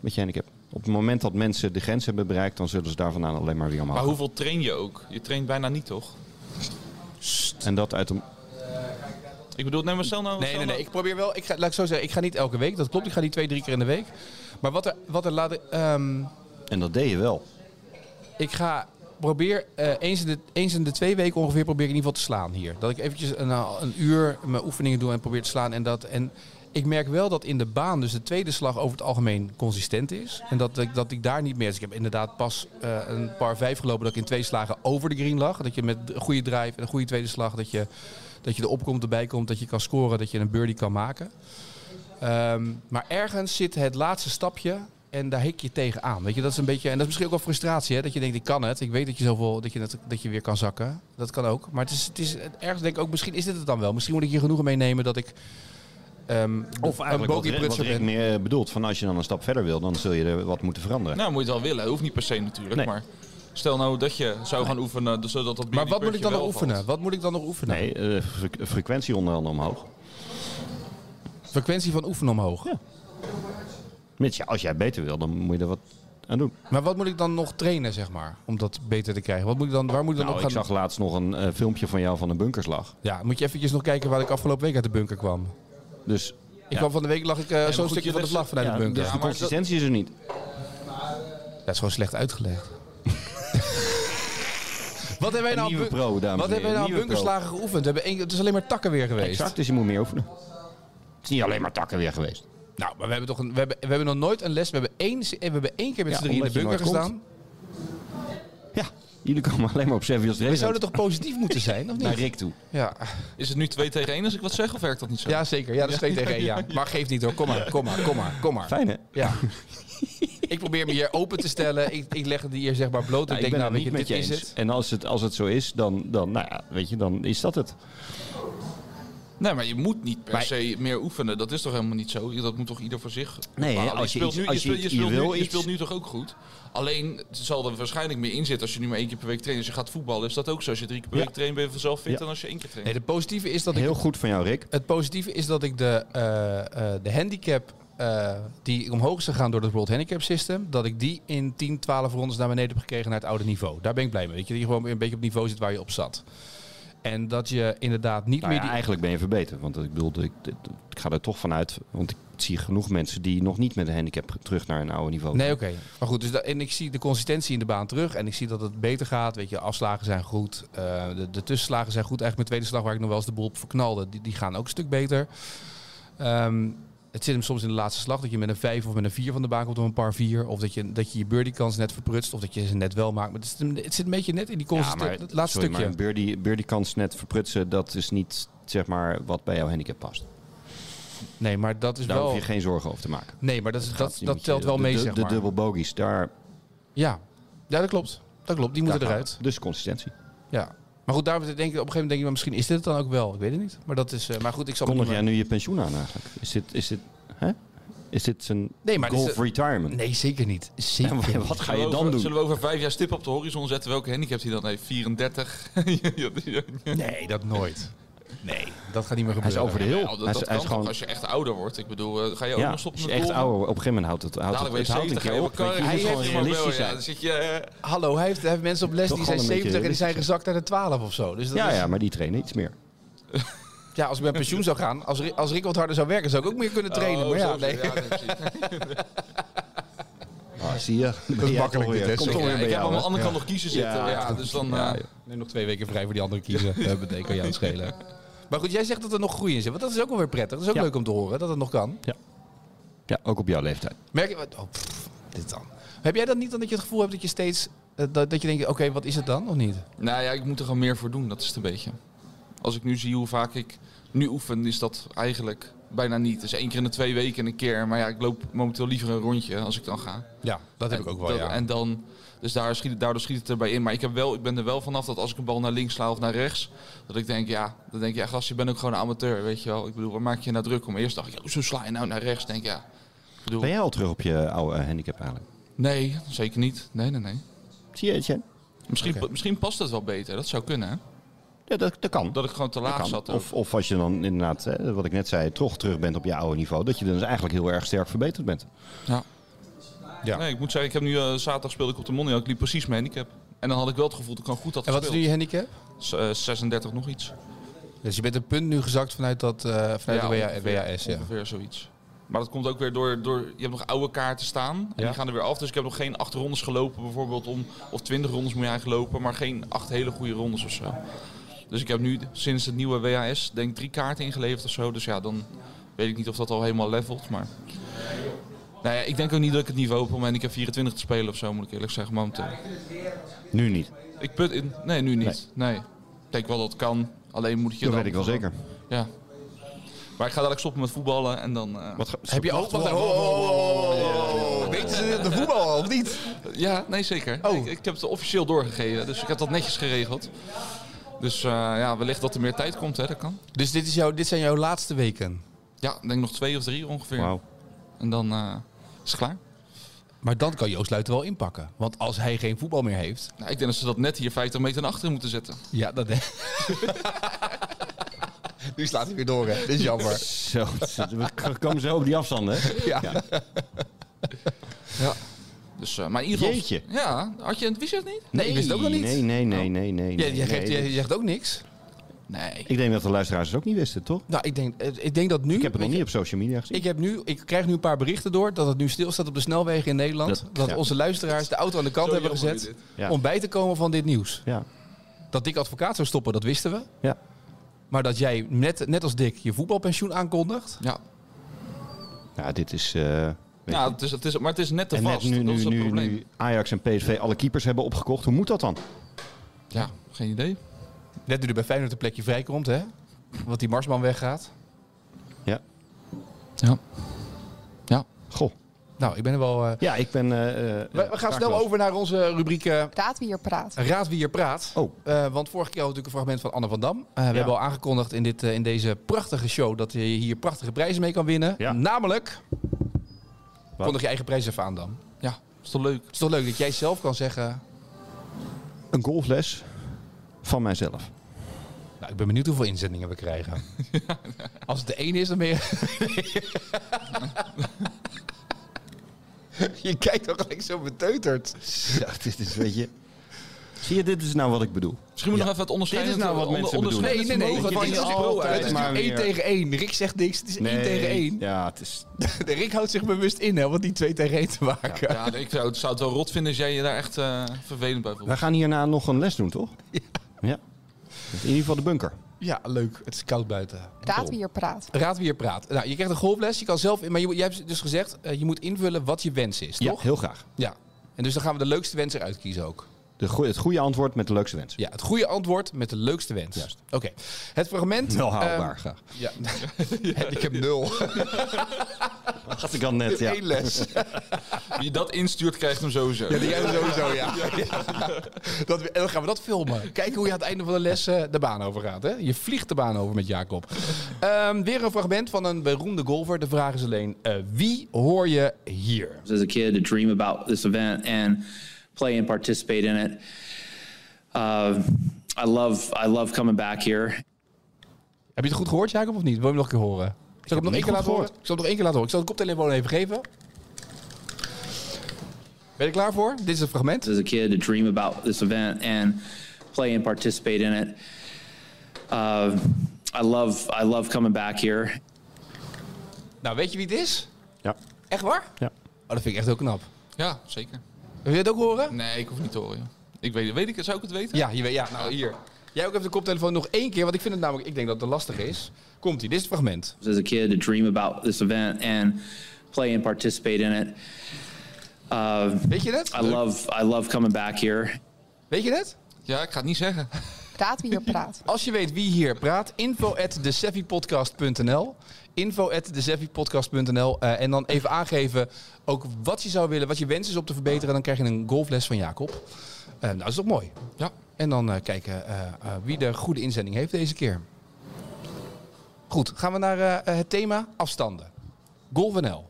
Speaker 2: Met je handicap. Op het moment dat mensen de grens hebben bereikt, dan zullen ze daar vandaan alleen maar weer omhoog
Speaker 5: Maar
Speaker 2: gaan.
Speaker 5: hoeveel train je ook? Je traint bijna niet, toch?
Speaker 2: En dat uit een...
Speaker 5: Ik bedoel, neem maar stel nou...
Speaker 1: Nee,
Speaker 5: stel
Speaker 1: nee, nee.
Speaker 5: nou-
Speaker 1: Ik probeer wel. Ik ga, laat ik zo zeggen, ik ga niet elke week. Dat klopt. Ik ga niet twee, drie keer in de week. Maar wat er, wat er later. ehm,
Speaker 2: En dat deed je wel.
Speaker 1: ik ga probeer eh, eens, in de, eens in de twee weken ongeveer probeer ik in ieder geval te slaan hier. Dat ik eventjes een, eh, een uur mijn oefeningen doe en probeer te slaan en dat. En ik merk wel dat in de baan dus de tweede slag over het algemeen consistent is. En dat ik, dat ik daar niet meer... Dus ik heb inderdaad pas eh, een paar vijf gelopen dat ik in twee slagen over de green lag. Dat je met een goede drive en een goede tweede slag... dat je, dat je erop komt, erbij komt, dat je kan scoren, dat je een birdie kan maken. Ehm, maar ergens zit het laatste stapje en daar hik je tegenaan. Weet je, dat is een beetje, en dat is misschien ook wel frustratie, hè? dat je denkt, ik kan het. Ik weet dat je, zoveel, dat je, het- dat je weer kan zakken. Dat kan ook. Maar het is, het is ergens denk ik ook, misschien is dit het dan wel. Misschien moet ik hier genoegen mee nemen dat ik ehm
Speaker 2: Of
Speaker 1: een
Speaker 2: eigenlijk wat, Rick- wat
Speaker 1: bogeyprutser
Speaker 2: Rick
Speaker 1: ben.
Speaker 2: meer eh, bedoelt. Van als je dan een stap verder wil, dan zul je er wat moeten veranderen.
Speaker 5: Nou, moet je het wel willen. Hoeft niet per se natuurlijk,
Speaker 2: Nee.
Speaker 5: maar... Stel nou dat je zou gaan oefenen, dus zodat dat
Speaker 1: Maar wat moet
Speaker 5: birdiepuntje
Speaker 1: ik dan nog
Speaker 5: wel
Speaker 1: oefenen?
Speaker 5: valt.
Speaker 1: Wat moet ik dan nog oefenen?
Speaker 2: nee, eh, fre- frequentie onder andere omhoog.
Speaker 1: Frequentie van oefenen omhoog.
Speaker 2: Ja. Mits, ja, als jij beter wil, dan moet je er wat aan doen.
Speaker 1: Maar wat moet ik dan nog trainen, zeg maar, om dat beter te krijgen? Wat moet ik dan, waar moet ik dan
Speaker 2: Nou,
Speaker 1: op
Speaker 2: ik
Speaker 1: gaan?
Speaker 2: zag laatst nog een eh, filmpje van jou van een bunkerslag.
Speaker 1: Ja, moet je eventjes nog kijken waar ik afgelopen week uit de bunker kwam.
Speaker 2: Dus,
Speaker 1: Ik kwam van de week, lag ik eh, zo'n
Speaker 5: goed,
Speaker 1: stukje van
Speaker 5: je
Speaker 1: de
Speaker 5: legt-
Speaker 1: slag vanuit
Speaker 2: ja,
Speaker 1: de bunker.
Speaker 2: dus de
Speaker 5: maar dat-
Speaker 2: consistentie is er niet.
Speaker 1: Dat is gewoon slecht uitgelegd. Wat hebben wij nou
Speaker 2: nieuwe
Speaker 1: aan bu-
Speaker 2: pro, dames en
Speaker 1: Wat hebben wij
Speaker 2: heren,
Speaker 1: nou aan
Speaker 2: nieuwe
Speaker 1: bunkerslagen geoefend? We hebben één- het is alleen maar takken weer geweest.
Speaker 2: Exact, dus je moet meer oefenen. Het is niet alleen maar takken weer geweest.
Speaker 1: Nou, maar we hebben, toch een, we, hebben, we hebben nog nooit een les. We hebben één, we hebben één keer met
Speaker 2: Ja,
Speaker 1: z'n drieën in de
Speaker 2: omdat je
Speaker 1: bunker
Speaker 2: nooit
Speaker 1: gestaan.
Speaker 2: Ja, jullie komen alleen maar op Servius
Speaker 1: We
Speaker 2: Regen
Speaker 1: zouden toch positief moeten zijn, of
Speaker 2: naar
Speaker 1: niet?
Speaker 2: Rick toe.
Speaker 1: Ja,
Speaker 5: Is het nu 2 tegen 1 als ik wat zeg, of werkt dat niet zo?
Speaker 1: ja zeker. Ja, dat is 2 tegen 1. Ja. Maar geeft niet hoor. Kom maar, kom maar, kom maar, kom maar.
Speaker 2: Fijn, hè?
Speaker 1: Ja. Ik probeer me hier open te stellen. Ik, ik leg het hier zeg maar bloot.
Speaker 2: Nou,
Speaker 1: ik
Speaker 2: ik
Speaker 1: denk,
Speaker 2: ben
Speaker 1: nou,
Speaker 2: het
Speaker 1: weet je,
Speaker 2: niet
Speaker 1: dit
Speaker 2: met je
Speaker 1: is
Speaker 2: eens.
Speaker 1: het.
Speaker 2: En als het, als het zo is, dan, dan, nou ja, weet je, dan is dat het.
Speaker 5: Nee, maar je moet niet per
Speaker 1: Maar-
Speaker 5: se meer oefenen. Dat is toch helemaal niet zo? Dat moet toch ieder voor zich
Speaker 2: Nee,
Speaker 5: bepalen.
Speaker 2: hè, als je
Speaker 5: speelt
Speaker 2: iets-
Speaker 5: nu-
Speaker 2: als je
Speaker 5: speelt-
Speaker 2: iets-
Speaker 5: speelt
Speaker 2: je
Speaker 5: nu-
Speaker 2: wil
Speaker 5: je
Speaker 2: iets.
Speaker 5: speelt nu toch ook goed? Alleen, het zal er waarschijnlijk meer in zitten als je nu maar één keer per week traint. Als je gaat voetballen, is dat ook zo. Als je drie keer per
Speaker 2: Ja.
Speaker 5: week traint, ben je vanzelf fit
Speaker 2: Ja.
Speaker 5: dan als je één keer traint.
Speaker 1: Nee, de positieve is dat ik
Speaker 2: Heel goed van jou, Rick.
Speaker 1: Het positieve is dat ik de, eh, eh, de handicap eh, die omhoog is gegaan door het World Handicap System, dat ik die in 10, 12 rondes naar beneden heb gekregen naar het oude niveau. Daar ben ik blij mee. Weet je, dat je gewoon weer een beetje op het niveau zit waar je op zat. En dat je inderdaad niet
Speaker 2: Nou
Speaker 1: meer
Speaker 2: ja,
Speaker 1: die...
Speaker 2: eigenlijk ben je verbeterd. Want ik bedoel, ik, ik- ik ga er toch vanuit. Want ik zie genoeg mensen die nog niet met een handicap terug naar een oude niveau
Speaker 1: Nee, oké. Maar goed, dus dat, en ik zie de consistentie in de baan terug. En ik zie dat het beter gaat. Weet je, afslagen zijn goed. eh, de, de tussenslagen zijn goed. Eigenlijk mijn tweede slag waar ik nog wel eens de boel op verknalde, die, die gaan ook een stuk beter. Ehm, het zit hem soms in de laatste slag dat je met een 5 of met een 4 van de baan komt op een paar 4. Of dat je dat je, je birdie kans net verprutst. Of dat je ze net wel maakt. Maar het, zit hem- het zit een beetje net in die consistent, dat laatste
Speaker 2: sorry,
Speaker 1: stukje.
Speaker 2: Maar een birdie, birdie kans net verprutsen, dat is niet zeg maar, wat bij jouw handicap past.
Speaker 1: nee, maar dat is
Speaker 2: Daar
Speaker 1: wel.
Speaker 2: hoef Nou, je geen zorgen over te maken.
Speaker 1: Nee, maar dat, is, dat,
Speaker 2: Je moet
Speaker 1: dat
Speaker 2: je-
Speaker 1: telt wel
Speaker 2: de-
Speaker 1: mee,
Speaker 2: de,
Speaker 1: zeg
Speaker 2: de
Speaker 1: maar.
Speaker 2: dubbel bogies, daar,
Speaker 1: Ja. ja, dat klopt. Dat klopt. Die moeten
Speaker 2: daar gaat
Speaker 1: eruit.
Speaker 2: het. Dus consistentie.
Speaker 1: Ja. Maar goed, daar denk ik, op een gegeven moment denk ik, maar misschien is dit het dan ook wel. Ik weet het niet. Maar dat is. eh, maar goed, ik zal.
Speaker 2: Kondig
Speaker 1: me-
Speaker 2: jij nu je pensioen aan eigenlijk? Is dit, is dit, hè? Is dit zijn
Speaker 1: Nee, maar dit is
Speaker 2: golf
Speaker 1: de-
Speaker 2: retirement?
Speaker 1: Nee, zeker niet.
Speaker 2: En
Speaker 1: Zeker
Speaker 2: wat
Speaker 1: niet.
Speaker 2: ga je
Speaker 5: Zullen we
Speaker 2: dan
Speaker 5: over-
Speaker 2: doen?
Speaker 5: Zullen we over vijf jaar stippen op de horizon zetten? Welke handicap hij dan heeft? 34? Ja, ja, ja.
Speaker 1: Nee, dat nooit. Nee, dat gaat niet meer gebeuren.
Speaker 2: Hij is over de
Speaker 5: Ja,
Speaker 2: hill.
Speaker 5: dat,
Speaker 2: hij is, hij
Speaker 5: dat kan
Speaker 2: is
Speaker 5: toch
Speaker 2: gewoon...
Speaker 5: als je echt ouder wordt. Ik bedoel, eh, ga je ook
Speaker 2: Ja,
Speaker 5: nog stoppen
Speaker 2: als je
Speaker 5: met
Speaker 2: echt
Speaker 5: golven?
Speaker 2: ouder wordt, op een gegeven moment houdt het, houdt
Speaker 5: Dadelijk
Speaker 2: het,
Speaker 5: ben
Speaker 2: het houdt
Speaker 5: je
Speaker 2: een
Speaker 5: 70, ga
Speaker 2: keer
Speaker 5: je
Speaker 2: op.
Speaker 5: elkaar-
Speaker 2: weet je.
Speaker 5: hij
Speaker 2: Het is
Speaker 5: heeft
Speaker 2: gewoon
Speaker 5: gewoon wel,
Speaker 2: realistisch
Speaker 5: ja. Dan
Speaker 2: zijn.
Speaker 5: zit je... eh,
Speaker 1: Hallo, hij heeft, hij heeft mensen op les
Speaker 2: Toch
Speaker 1: die zijn
Speaker 2: gewoon een
Speaker 1: 70 en die
Speaker 2: beetje
Speaker 1: zijn gezakt naar de 12 of zo. Dus dat
Speaker 2: Ja,
Speaker 1: is-
Speaker 2: ja, maar die trainen iets meer.
Speaker 1: ja, als ik met pensioen zou gaan, als, Ri- als Rick wat harder zou werken, zou ik ook meer kunnen trainen.
Speaker 5: oh,
Speaker 1: maar ja,
Speaker 5: zo,
Speaker 1: nee.
Speaker 5: ja, precies.
Speaker 2: Ah, zie je.
Speaker 1: Dat is makkelijk dit, hè?
Speaker 2: Komt
Speaker 1: Sorry.
Speaker 2: toch
Speaker 5: Ja,
Speaker 2: weer bij
Speaker 5: ik heb
Speaker 2: jou.
Speaker 5: aan de
Speaker 2: hè?
Speaker 5: andere kant nog kiezen zitten. Ja, dus dan... eh,
Speaker 1: Neem nog twee weken vrij voor die andere kiezen. Dat betekent jou het schelen. Maar goed, jij zegt dat er nog groei in zit. Want dat is ook wel weer prettig. Dat is ook
Speaker 2: Ja.
Speaker 1: leuk om te horen, dat het nog kan.
Speaker 2: Ja, ook op jouw leeftijd.
Speaker 1: Merk je... Oh, pff, dit dan. Heb jij dan niet dan dat je het gevoel hebt dat je steeds... eh, Dat, dat je denkt, oké, wat is het dan? Of niet?
Speaker 5: Nou ja, ik moet er gewoon meer voor doen, dat is het een beetje. Als ik nu zie hoe vaak ik nu oefen, is dat eigenlijk bijna niet. Dus één keer in de twee weken een keer. Maar ja, ik loop momenteel liever een rondje als ik dan ga.
Speaker 1: Ja, dat heb ik ook wel,
Speaker 5: Dat-
Speaker 1: ja.
Speaker 5: En dan, dus daar schiet, daardoor schiet het erbij in. Maar ik, heb wel, ik ben er wel vanaf dat als ik een bal naar links sla of naar rechts, dat ik denk, ja, dan denk je, ja, gast, je bent ook gewoon een amateur, weet je wel. Ik bedoel, waar maak je je nou druk om? Eerst dacht ik, ja, hoezo sla je nou naar rechts? Denk ik, ja. Ik bedoel,
Speaker 2: Ben jij al terug op je oude eh, handicap eigenlijk?
Speaker 5: nee, zeker niet. Nee, nee, nee.
Speaker 2: Zie je, Etienne?
Speaker 5: Misschien,
Speaker 1: Oké.
Speaker 5: misschien past het wel beter. Dat zou kunnen, hè?
Speaker 2: Ja, dat, dat kan.
Speaker 5: Dat ik gewoon te
Speaker 2: Dat
Speaker 5: laag
Speaker 2: kan.
Speaker 5: zat. ook.
Speaker 2: Of, of als je dan inderdaad, hè, wat ik net zei, toch terug bent op je oude niveau. Dat je dan dus eigenlijk heel erg sterk verbeterd bent.
Speaker 5: Ja.
Speaker 1: Ja.
Speaker 5: Nee, ik moet zeggen, ik heb nu eh, zaterdag speelde ik op de Mondial. Ik liep precies mijn handicap. En dan had ik wel het gevoel dat ik gewoon goed had
Speaker 1: En wat is nu
Speaker 5: gespeeld.
Speaker 1: je handicap?
Speaker 5: S- eh, 36 nog iets.
Speaker 1: Dus je bent een punt nu gezakt vanuit, dat, eh, vanuit de WA-
Speaker 5: ongeveer,
Speaker 1: WAS, ja.
Speaker 5: Ongeveer zoiets. Maar dat komt ook weer door, door... Je hebt nog oude kaarten staan. En
Speaker 1: Ja.
Speaker 5: die gaan er weer af. Dus ik heb nog geen acht rondes gelopen bijvoorbeeld. Om, of 20 rondes moet je eigenlijk lopen. Maar geen acht hele goede rondes of zo. Dus ik heb nu sinds het nieuwe WAS denk ik drie kaarten ingeleverd of zo. Dus ja, dan weet ik niet of dat al helemaal levelt. Maar... Nou ja, ik denk ook niet dat ik het niveau heb om handicap 24 te spelen of zo, moet ik eerlijk zeggen, momenteel.
Speaker 2: Nu niet.
Speaker 5: Ik put in. Nee, nu niet. Nee. Ik denk wel dat het kan. Alleen moet je
Speaker 2: dat
Speaker 5: dan-
Speaker 2: weet ik wel zeker.
Speaker 5: Ja. Maar ik ga dadelijk stoppen met voetballen en dan... eh,
Speaker 2: Wat ga-
Speaker 1: Heb je ook... Wacht, oh, oh, oh, oh. Weten ze de voetbal of niet?
Speaker 5: Ja, nee zeker.
Speaker 1: Oh.
Speaker 5: Ik, ik heb het officieel doorgegeven, dus ik heb dat netjes geregeld. Dus eh, ja, wellicht dat er meer tijd komt, hè, dat kan.
Speaker 1: Dus dit, is jouw, dit zijn jouw laatste weken.
Speaker 5: Ja, ik denk nog twee of drie ongeveer.
Speaker 2: Wauw.
Speaker 5: En dan eh, is het klaar.
Speaker 1: Maar dan kan Joost Luiten wel inpakken. Want als hij geen voetbal meer heeft...
Speaker 5: Nou, ik denk dat ze dat net hier 50 meter naar achteren moeten zetten.
Speaker 1: Ja, dat... nu slaat hij weer door, hè. Dit is jammer.
Speaker 2: Zo, we komen zo op die afstanden. hè?
Speaker 1: Ja.
Speaker 5: Dus, eh, maar in ieder geval...
Speaker 2: Jeetje.
Speaker 5: Ja, had je het wist je het niet?
Speaker 1: Nee, ik wist het ook nog niet.
Speaker 2: Nee, nee, nee, nee, nee.
Speaker 1: Jij,
Speaker 2: nee,
Speaker 1: jij geeft,
Speaker 2: nee.
Speaker 1: jij- jij zegt ook niks.
Speaker 5: Nee.
Speaker 2: Ik denk dat de luisteraars het ook niet wisten, toch?
Speaker 1: Nou, ik denk, eh, ik denk dat nu...
Speaker 2: Ik heb het nog
Speaker 1: weet
Speaker 2: niet op social media
Speaker 1: je,
Speaker 2: gezien.
Speaker 1: Ik, heb nu, ik krijg nu een paar berichten door dat het nu stilstaat op de snelwegen in Nederland. Dat,
Speaker 2: Dat- ja.
Speaker 1: onze luisteraars de auto aan de kant
Speaker 5: Zo
Speaker 1: hebben
Speaker 5: jammer
Speaker 1: gezet
Speaker 5: dit.
Speaker 2: Ja.
Speaker 1: om bij te komen van dit nieuws.
Speaker 2: Ja.
Speaker 1: Dat Dick Advocaat zou stoppen, dat wisten we.
Speaker 2: Ja.
Speaker 1: Maar dat jij, net, net als Dick, je voetbalpensioen aankondigt.
Speaker 5: Ja,
Speaker 2: ja, dit is... eh, weet
Speaker 5: ja
Speaker 2: je.
Speaker 5: het is, het is, maar het is net te
Speaker 2: en net
Speaker 5: vast.
Speaker 2: nu,
Speaker 5: Nou, dat is
Speaker 2: nu,
Speaker 5: het
Speaker 2: nu,
Speaker 5: probleem.
Speaker 2: nu Ajax en PSV alle keepers hebben opgekocht. Hoe moet dat dan?
Speaker 5: Ja, geen idee.
Speaker 1: Net nu er bij Feyenoord een plekje vrijkomt, hè? Want die Marsman weggaat.
Speaker 2: Ja.
Speaker 5: Ja. Ja.
Speaker 2: Goh.
Speaker 1: Nou, ik ben er wel... eh,
Speaker 2: Ja, ik ben... eh, eh,
Speaker 1: we, we gaan snel
Speaker 2: sprakeloos.
Speaker 1: over naar onze rubriek eh,
Speaker 6: Raad wie hier praat.
Speaker 1: Raad wie hier praat.
Speaker 2: Oh.
Speaker 1: Eh, want vorige keer hadden we natuurlijk een fragment van Anne van Dam. Eh, we
Speaker 2: Ja.
Speaker 1: hebben al aangekondigd in, dit, eh, in deze prachtige show dat je hier prachtige prijzen mee kan winnen.
Speaker 2: Ja.
Speaker 1: Namelijk. Kondig je eigen prijs even aan dan.
Speaker 5: Ja, is toch leuk?
Speaker 1: Het is toch leuk dat jij zelf kan zeggen.
Speaker 2: Een golfles van mijzelf.
Speaker 1: Nou, ik ben benieuwd hoeveel inzendingen we krijgen. Als het de ene is, dan ben je. je kijkt toch gelijk zo beteuterd.
Speaker 2: Ja, dit is, weet je... Zie je, dit is nou wat ik bedoel.
Speaker 5: Misschien moet nog even het onderscheiden.
Speaker 2: Dit is nou wat mensen
Speaker 1: Nee, nee, nee.
Speaker 2: Mogen
Speaker 1: Het
Speaker 2: van
Speaker 1: is,
Speaker 2: je altijd
Speaker 1: het is
Speaker 2: maar
Speaker 1: nu één
Speaker 2: weer.
Speaker 1: tegen één. Rick zegt niks. Het is één tegen één.
Speaker 2: Ja, het is...
Speaker 1: Rick houdt zich bewust in, hè, want die twee tegen één te maken.
Speaker 5: Ja, nee, ik zou, zou het wel rot vinden als jij je daar echt eh, vervelend bij voelt.
Speaker 2: Wij gaan hierna nog een les doen, toch? Ja. In ieder geval de bunker.
Speaker 1: Ja, leuk. Het is koud buiten.
Speaker 6: Raad wie hier praat.
Speaker 1: Raad wie hier praat. Nou, je krijgt een golfles. Je kan zelf in, maar je, moet- jij hebt dus gezegd, eh, je moet invullen wat je wens is, toch?
Speaker 2: heel graag.
Speaker 1: Ja. En dus dan gaan we de leukste wens eruit kiezen ook.
Speaker 2: De goe- het goede antwoord met de leukste wens.
Speaker 1: Ja, het goede antwoord met de leukste wens.
Speaker 2: Juist.
Speaker 1: Oké. Het fragment...
Speaker 2: Wel haalbaar,
Speaker 1: ehm,
Speaker 2: graag.
Speaker 1: ja. ik heb nul.
Speaker 2: Had ik dan net,
Speaker 1: Eén les.
Speaker 5: Wie dat instuurt, krijgt hem sowieso.
Speaker 1: Ja, die hebben we sowieso, ja. Ja. Dat, we- en dan gaan we dat filmen. Kijken hoe je aan het einde van de les eh, de baan over gaat. Hè? Je vliegt de baan over met Jacob. Ehm, weer een fragment van een beroemde golfer. De vraag is alleen, eh, wie hoor je hier?
Speaker 6: as a kid to dream about this event and play and participate in it. Uh, I love I love coming back here.
Speaker 1: Heb je het goed gehoord, Jacob, of niet? Wil je hem nog een keer horen? Zal ik hem nog één
Speaker 2: hem niet
Speaker 1: keer
Speaker 2: goed
Speaker 1: laten horen?
Speaker 2: gehoord.
Speaker 1: Ik zal hem nog één keer laten horen. Ik zal de koptelefoon even geven. Ben je er klaar voor? Dit is het fragment.
Speaker 6: As a kid to dream about this event and play and participate in it. Uh, I love I love coming back here.
Speaker 1: Nou, weet je wie het is?
Speaker 2: Ja.
Speaker 1: Echt waar?
Speaker 2: Ja.
Speaker 1: Oh, dat vind ik echt heel knap.
Speaker 5: Ja, zeker.
Speaker 1: Wil je het ook horen?
Speaker 5: Nee, ik hoef niet te horen. joh. Ik weet, weet ik het, zou ik het weten?
Speaker 1: Ja, je weet, ja, nou hier. Jij ook even de koptelefoon nog één keer, want ik vind het namelijk, ik denk dat het lastig is. Komt ie, dit is het fragment.
Speaker 6: As a kid to dream about this event and play and participate in it. Uh,
Speaker 1: Weet je dat?
Speaker 6: I love I love coming back here.
Speaker 1: Weet je dat?
Speaker 5: Ja, ik ga het niet zeggen.
Speaker 7: Praat wie hier praat.
Speaker 1: Als je weet wie hier praat, info at theseffypodcast.nl. Info at theseffypodcast.nl. Eh, en dan even aangeven ook wat je zou willen, wat je wens is om te verbeteren. Dan krijg je een golfles van Jacob. Eh, nou, dat is toch mooi?
Speaker 5: Ja.
Speaker 1: En dan eh, kijken eh, eh, wie de goede inzending heeft deze keer. Goed, gaan we naar eh, het thema afstanden. Golf.nl.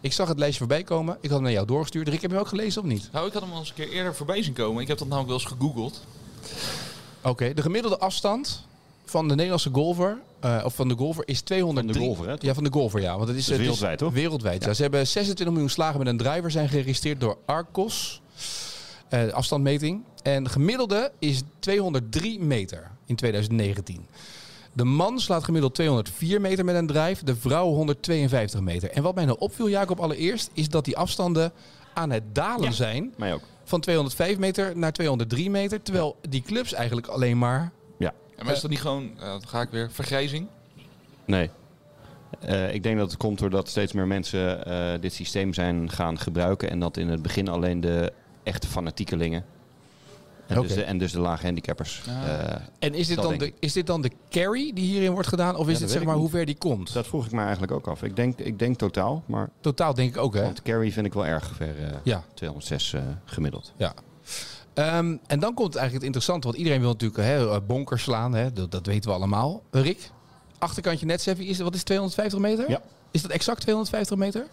Speaker 1: Ik zag het lijstje voorbij komen. Ik had hem naar jou doorgestuurd. Rick, heb je hem ook gelezen of niet?
Speaker 5: Nou, ik had hem al eens een keer eerder voorbij zien komen. Ik heb dat namelijk wel eens gegoogeld.
Speaker 1: Oké, de gemiddelde afstand van de Nederlandse golfer... eh, of van de golfer is 203...
Speaker 2: Van de golfer, hè, toch?
Speaker 1: Ja, van de golfer, ja. Want het is, het is
Speaker 2: Dat is wereldwijd, toch?
Speaker 1: Wereldwijd, ja. Ze hebben 26 miljoen slagen met een driver... zijn geregistreerd door Arcos. eh, de afstandmeting. En de gemiddelde is 203 meter in 2019. De man slaat gemiddeld 204 meter met een drijf, de vrouw 152 meter. En wat mij nou opviel, Jacob, allereerst, is dat die afstanden aan het dalen zijn.
Speaker 2: Mij ook.
Speaker 1: Van 205 meter naar 203 meter. Terwijl die clubs eigenlijk alleen maar.
Speaker 2: Ja.
Speaker 5: En maar is dat niet gewoon, eh, dan ga ik weer, vergrijzing?
Speaker 2: Nee. Eh, ik denk dat het komt doordat steeds meer mensen eh, dit systeem zijn gaan gebruiken. En dat in het begin alleen de echte fanatiekelingen. En,
Speaker 1: Oké.
Speaker 2: dus, de, en dus de lage handicappers. eh,
Speaker 1: En is dit,
Speaker 2: Dat
Speaker 1: dan de,
Speaker 2: denk
Speaker 1: is dit dan de carry die hierin wordt gedaan? Of is
Speaker 2: dat
Speaker 1: dit
Speaker 2: weet
Speaker 1: zeg
Speaker 2: ik
Speaker 1: maar
Speaker 2: niet.
Speaker 1: hoe ver die komt?
Speaker 2: dat vroeg ik me eigenlijk ook af. Ik denk, ik denk totaal, maar
Speaker 1: Totaal denk ik ook, hè?
Speaker 2: want carry vind ik wel erg ver. eh,
Speaker 1: Ja.
Speaker 2: 206 eh, gemiddeld.
Speaker 1: Ja. Ehm, en dan komt eigenlijk het interessante, want iedereen wil natuurlijk hè, eh, bonkers slaan, hè, dat, dat weten we allemaal. Rick, achterkantje net, Seffi, is, wat is 250 meter?
Speaker 2: Ja.
Speaker 1: Is dat exact 250 meter?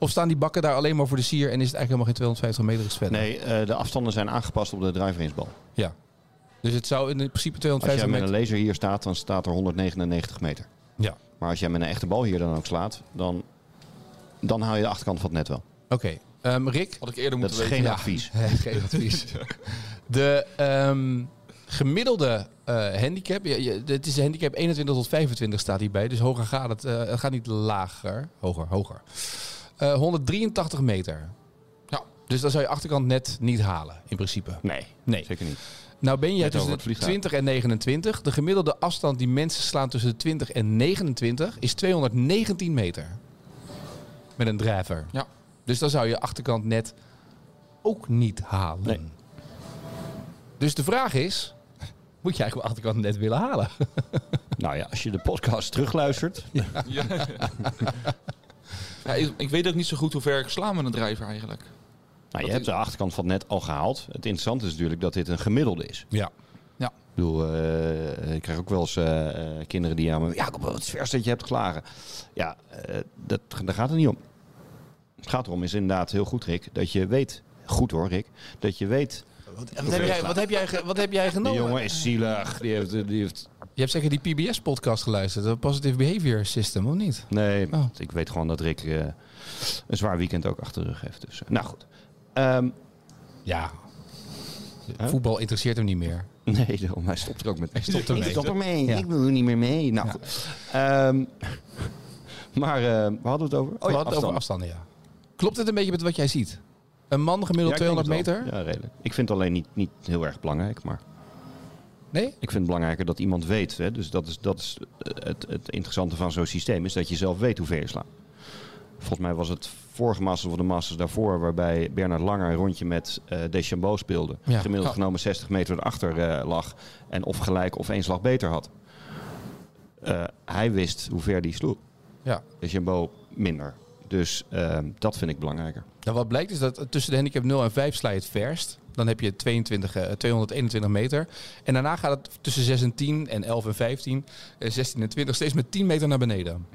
Speaker 1: Of staan die bakken daar alleen maar voor de sier en is het eigenlijk helemaal geen 250 meter is verder?
Speaker 2: Nee, eh, de afstanden zijn aangepast op de driveringsbal.
Speaker 1: Ja. Dus het zou in principe
Speaker 2: Als jij
Speaker 1: 250
Speaker 2: met
Speaker 1: meter...
Speaker 2: een laser hier staat, dan staat er 199 meter.
Speaker 1: Ja.
Speaker 2: Maar als jij met een echte bal hier dan ook slaat, dan, dan haal je de achterkant van het net wel.
Speaker 1: Oké. Ehm, Rick?
Speaker 5: Had ik eerder
Speaker 2: Dat
Speaker 5: moeten
Speaker 2: is
Speaker 5: weten.
Speaker 2: geen
Speaker 1: Ja.
Speaker 2: advies.
Speaker 1: geen advies. De ehm, gemiddelde eh, handicap, ja, ja, het is de handicap 21 tot 25 staat hierbij, dus hoger gaat het, eh, het gaat niet lager, hoger, hoger. Eh, 183 meter.
Speaker 5: Ja.
Speaker 1: Dus dan zou je achterkant net niet halen, in principe.
Speaker 2: Nee,
Speaker 1: Nee.
Speaker 2: zeker niet.
Speaker 1: Nou ben jij
Speaker 2: Net over
Speaker 1: tussen
Speaker 2: het
Speaker 1: de
Speaker 2: vliegtuig.
Speaker 1: 20 en 29. De gemiddelde afstand die mensen slaan tussen de 20 en 29 is 219 meter. Met een drijver.
Speaker 5: Ja.
Speaker 1: Dus dan zou je achterkant net ook niet halen.
Speaker 2: Nee.
Speaker 1: Dus de vraag is, moet je eigenlijk de achterkant net willen halen?
Speaker 2: Nou ja, als je de podcast terugluistert,
Speaker 5: Ja. Ja, ik, ik weet ook niet zo goed hoe ver ik sla met een drijver eigenlijk.
Speaker 2: nou, je hebt de achterkant van het net al gehaald. Het interessante is natuurlijk dat dit een gemiddelde is.
Speaker 1: Ja.
Speaker 2: Ik bedoel, eh, ik krijg ook wel eens eh, eh, kinderen die aan me... Ja, kom, het is vers dat je hebt geslagen. Ja, eh, dat, daar gaat het niet om. Het gaat erom, is inderdaad heel goed, Rick, dat je weet... Goed hoor, Rick. Dat je weet...
Speaker 1: Wat heb, jij, wat, heb jij, ge- wat heb jij
Speaker 2: Die
Speaker 1: genomen?
Speaker 2: jongen is zielig. Die heeft, eh, die heeft...
Speaker 1: Je hebt zeker die PBS-podcast geluisterd. Dat Positive Behavior System, of niet?
Speaker 2: Nee,
Speaker 1: Oh.
Speaker 2: ik weet gewoon dat Rick eh, een zwaar weekend ook achter de rug heeft. Dus, eh, nou goed. Ehm,
Speaker 1: Ja.
Speaker 2: Huh?
Speaker 1: Voetbal interesseert hem niet meer.
Speaker 2: nee, daarom, hij stopt er ook met. Hij stopt
Speaker 1: ermee.
Speaker 2: ermee.
Speaker 1: Ja.
Speaker 2: Ik wil er niet meer mee. Nou
Speaker 1: Ja.
Speaker 2: goed. Ehm, maar eh we hadden we het over.
Speaker 1: We
Speaker 2: ja,
Speaker 1: hadden het over
Speaker 2: afstand.
Speaker 1: afstanden, ja. Klopt het een beetje met wat jij ziet? Een man gemiddeld
Speaker 2: Ja, ik denk
Speaker 1: 200
Speaker 2: het wel.
Speaker 1: meter?
Speaker 2: Ja, redelijk. Ik vind het alleen niet, niet heel erg belangrijk. Maar
Speaker 1: Nee?
Speaker 2: ik vind het belangrijker dat iemand weet. Hè. Dus dat is, dat is eh, het, het interessante van zo'n systeem. Is dat je zelf weet hoe ver je slaat. Volgens mij was het vorige Masters of de Masters daarvoor, waarbij Bernard Langer een rondje met eh Deschambeau speelde.
Speaker 1: Ja.
Speaker 2: Gemiddeld
Speaker 5: Oh.
Speaker 2: genomen 60 meter erachter eh, lag en of gelijk of één slag beter had. Eh, hij wist hoe ver die sloeg.
Speaker 1: Ja.
Speaker 2: Deschambeau minder. Dus eh, dat vind ik belangrijker.
Speaker 1: Nou, wat blijkt is dat tussen de handicap 0 en 5 sla je het verst. Dan heb je 22, eh, 221 meter. En daarna gaat het tussen 6 en 10 en 11 en 15, eh, 16 en 20 steeds met 10 meter naar beneden.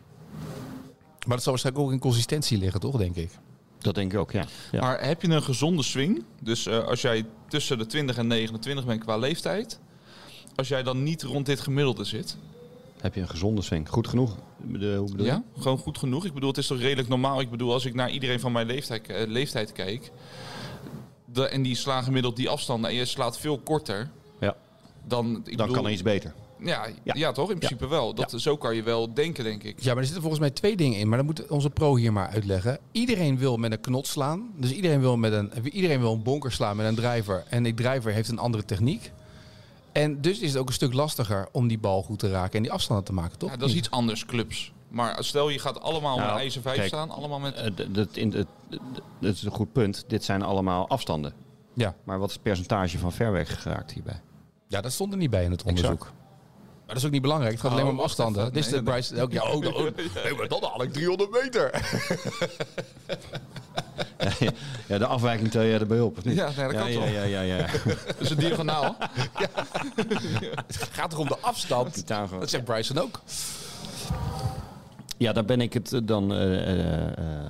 Speaker 1: Maar dat zal waarschijnlijk ook in consistentie liggen, toch, denk ik?
Speaker 2: Dat denk ik ook, ja. ja.
Speaker 5: Maar heb je een gezonde swing? Dus eh, als jij tussen de 20 en 29 bent qua leeftijd. Als jij dan niet rond dit gemiddelde zit.
Speaker 2: Heb je een gezonde swing? Goed genoeg? De, hoe bedoel je?
Speaker 5: Ja, gewoon goed genoeg. Ik bedoel, het is toch redelijk normaal. Ik bedoel, als ik naar iedereen van mijn leeftijd, eh, leeftijd kijk. De, en die slaan gemiddeld die afstanden. En je slaat veel korter.
Speaker 2: Ja.
Speaker 5: Dan, ik
Speaker 2: Dan
Speaker 5: bedoel,
Speaker 2: kan er iets beter.
Speaker 5: Ja,
Speaker 2: Ja.
Speaker 5: ja. toch? In principe wel. Dat, Zo kan je wel denken, denk ik.
Speaker 1: Ja, maar er zitten volgens mij twee dingen in. Maar dan moet onze pro hier maar uitleggen. Iedereen wil met een knot slaan. Dus iedereen wil, met een, iedereen wil een bonker slaan met een driver. En die driver heeft een andere techniek. En dus is het ook een stuk lastiger om die bal goed te raken en die afstanden te maken, toch?
Speaker 5: Ja, dat is iets anders, clubs. Maar stel, je gaat allemaal
Speaker 2: Hm. Nou,
Speaker 5: met ijzer 5
Speaker 2: kijk.
Speaker 5: staan. Allemaal met...
Speaker 2: Eh, d- dat, in, het- d- dat is een goed punt. Dit zijn allemaal afstanden.
Speaker 1: Ja.
Speaker 2: Maar wat is het percentage van ver weg geraakt hierbij?
Speaker 1: Ja, dat stond er niet bij in het onderzoek.
Speaker 2: Exact.
Speaker 1: Maar dat is ook niet belangrijk. Het gaat
Speaker 5: Oh,
Speaker 1: alleen maar om
Speaker 5: wacht
Speaker 1: afstanden.
Speaker 5: even.
Speaker 1: Dit is
Speaker 5: Nee,
Speaker 1: de
Speaker 5: nee,
Speaker 1: Bryce. Ook, ja, oh, oh, nee, maar dan haal ik 300 meter.
Speaker 2: Ja, de afwijking tel jij erbij op, of niet?
Speaker 5: Ja, nee, dat
Speaker 2: ja,
Speaker 5: kan
Speaker 2: ja,
Speaker 5: toch?
Speaker 2: ja, ja, ja.
Speaker 5: Dat is een diagonaal.
Speaker 1: Het gaat toch om de afstand?
Speaker 2: Daar gewoon.
Speaker 1: Dat zegt Bryson ook.
Speaker 2: Ja, daar ben ik het eh, dan eh, eh, eh,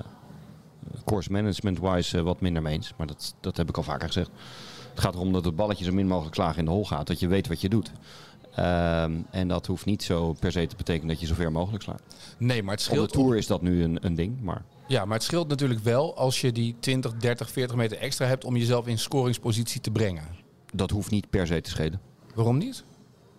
Speaker 2: course management-wise eh, wat minder mee eens. Maar dat, dat heb ik al vaker gezegd. Het gaat erom dat het balletje zo min mogelijk slagen in de hol gaat. Dat je weet wat je doet. Ehm, en dat hoeft niet zo per se te betekenen dat je zover mogelijk slaat.
Speaker 1: Nee, maar het
Speaker 2: Op de
Speaker 1: scheelt.
Speaker 2: Tour is dat nu een, een ding, maar...
Speaker 1: Ja, maar het scheelt natuurlijk wel als je die 20, 30, 40 meter extra hebt om jezelf in scoringspositie te brengen.
Speaker 2: Dat hoeft niet per se te schelen.
Speaker 1: Waarom niet?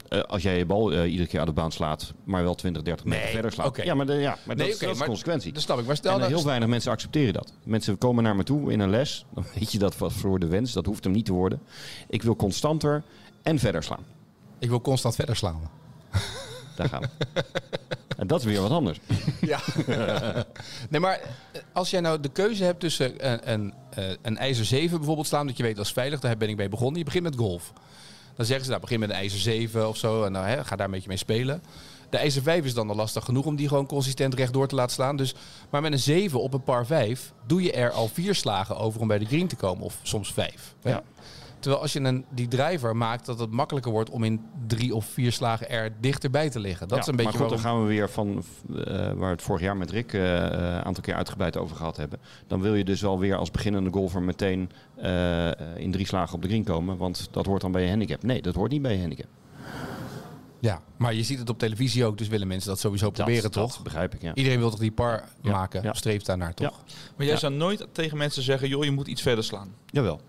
Speaker 2: Eh, als jij je bal eh, iedere keer uit de baan slaat, maar wel 20, 30 meter
Speaker 1: Nee,
Speaker 2: verder slaat.
Speaker 1: oké.
Speaker 2: Ja, maar, de, ja, maar dat, is-
Speaker 1: oké,
Speaker 2: dat is
Speaker 1: maar
Speaker 2: de consequentie.
Speaker 1: Dat snap ik. Maar stel
Speaker 2: en eh,
Speaker 1: nou,
Speaker 2: heel weinig mensen accepteren dat. Mensen komen naar me toe in een les. Dan weet je dat wat voor de wens. Dat hoeft hem niet te worden. Ik wil constanter en verder slaan.
Speaker 1: ik wil constant verder slaan.
Speaker 2: Daar gaan we. en dat is weer wat anders.
Speaker 1: Ja. nee, maar eh, als jij nou de keuze hebt tussen een, een, eh, een ijzer 7 bijvoorbeeld slaan, dat je weet dat is veilig, daar ben ik mee begonnen. Je begint met golf. Dan zeggen ze, nou begin met een ijzer 7 of zo en nou, hè, ga daar een beetje mee spelen. De ijzer 5 is dan al lastig genoeg om die gewoon consistent rechtdoor te laten slaan. Dus, maar met een 7 op een par 5 doe je er al vier slagen over om bij de green te komen. Of soms vijf. hè.
Speaker 2: Ja.
Speaker 1: Terwijl als je een, die driver maakt, dat het makkelijker wordt om in drie of vier slagen er dichterbij te liggen. Dat
Speaker 2: Ja,
Speaker 1: is een beetje
Speaker 2: maar goed,
Speaker 1: waarom-
Speaker 2: dan gaan we weer van eh, waar we het vorig jaar met Rick eh, eh, een aantal keer uitgebreid over gehad hebben. Dan wil je dus wel weer als beginnende golfer meteen eh, eh, in drie slagen op de green komen. Want dat hoort dan bij je handicap. Nee, dat hoort niet bij je handicap.
Speaker 1: Ja, maar je ziet het op televisie ook, dus willen mensen dat sowieso proberen,
Speaker 2: dat,
Speaker 1: toch?
Speaker 2: Dat begrijp ik, ja.
Speaker 1: Iedereen wil toch die par
Speaker 2: Ja,
Speaker 1: maken,
Speaker 2: ja.
Speaker 1: streeft daarnaar, toch?
Speaker 5: Maar jij
Speaker 2: Ja.
Speaker 5: zou nooit tegen mensen zeggen, joh, je moet iets verder slaan.
Speaker 2: Jawel.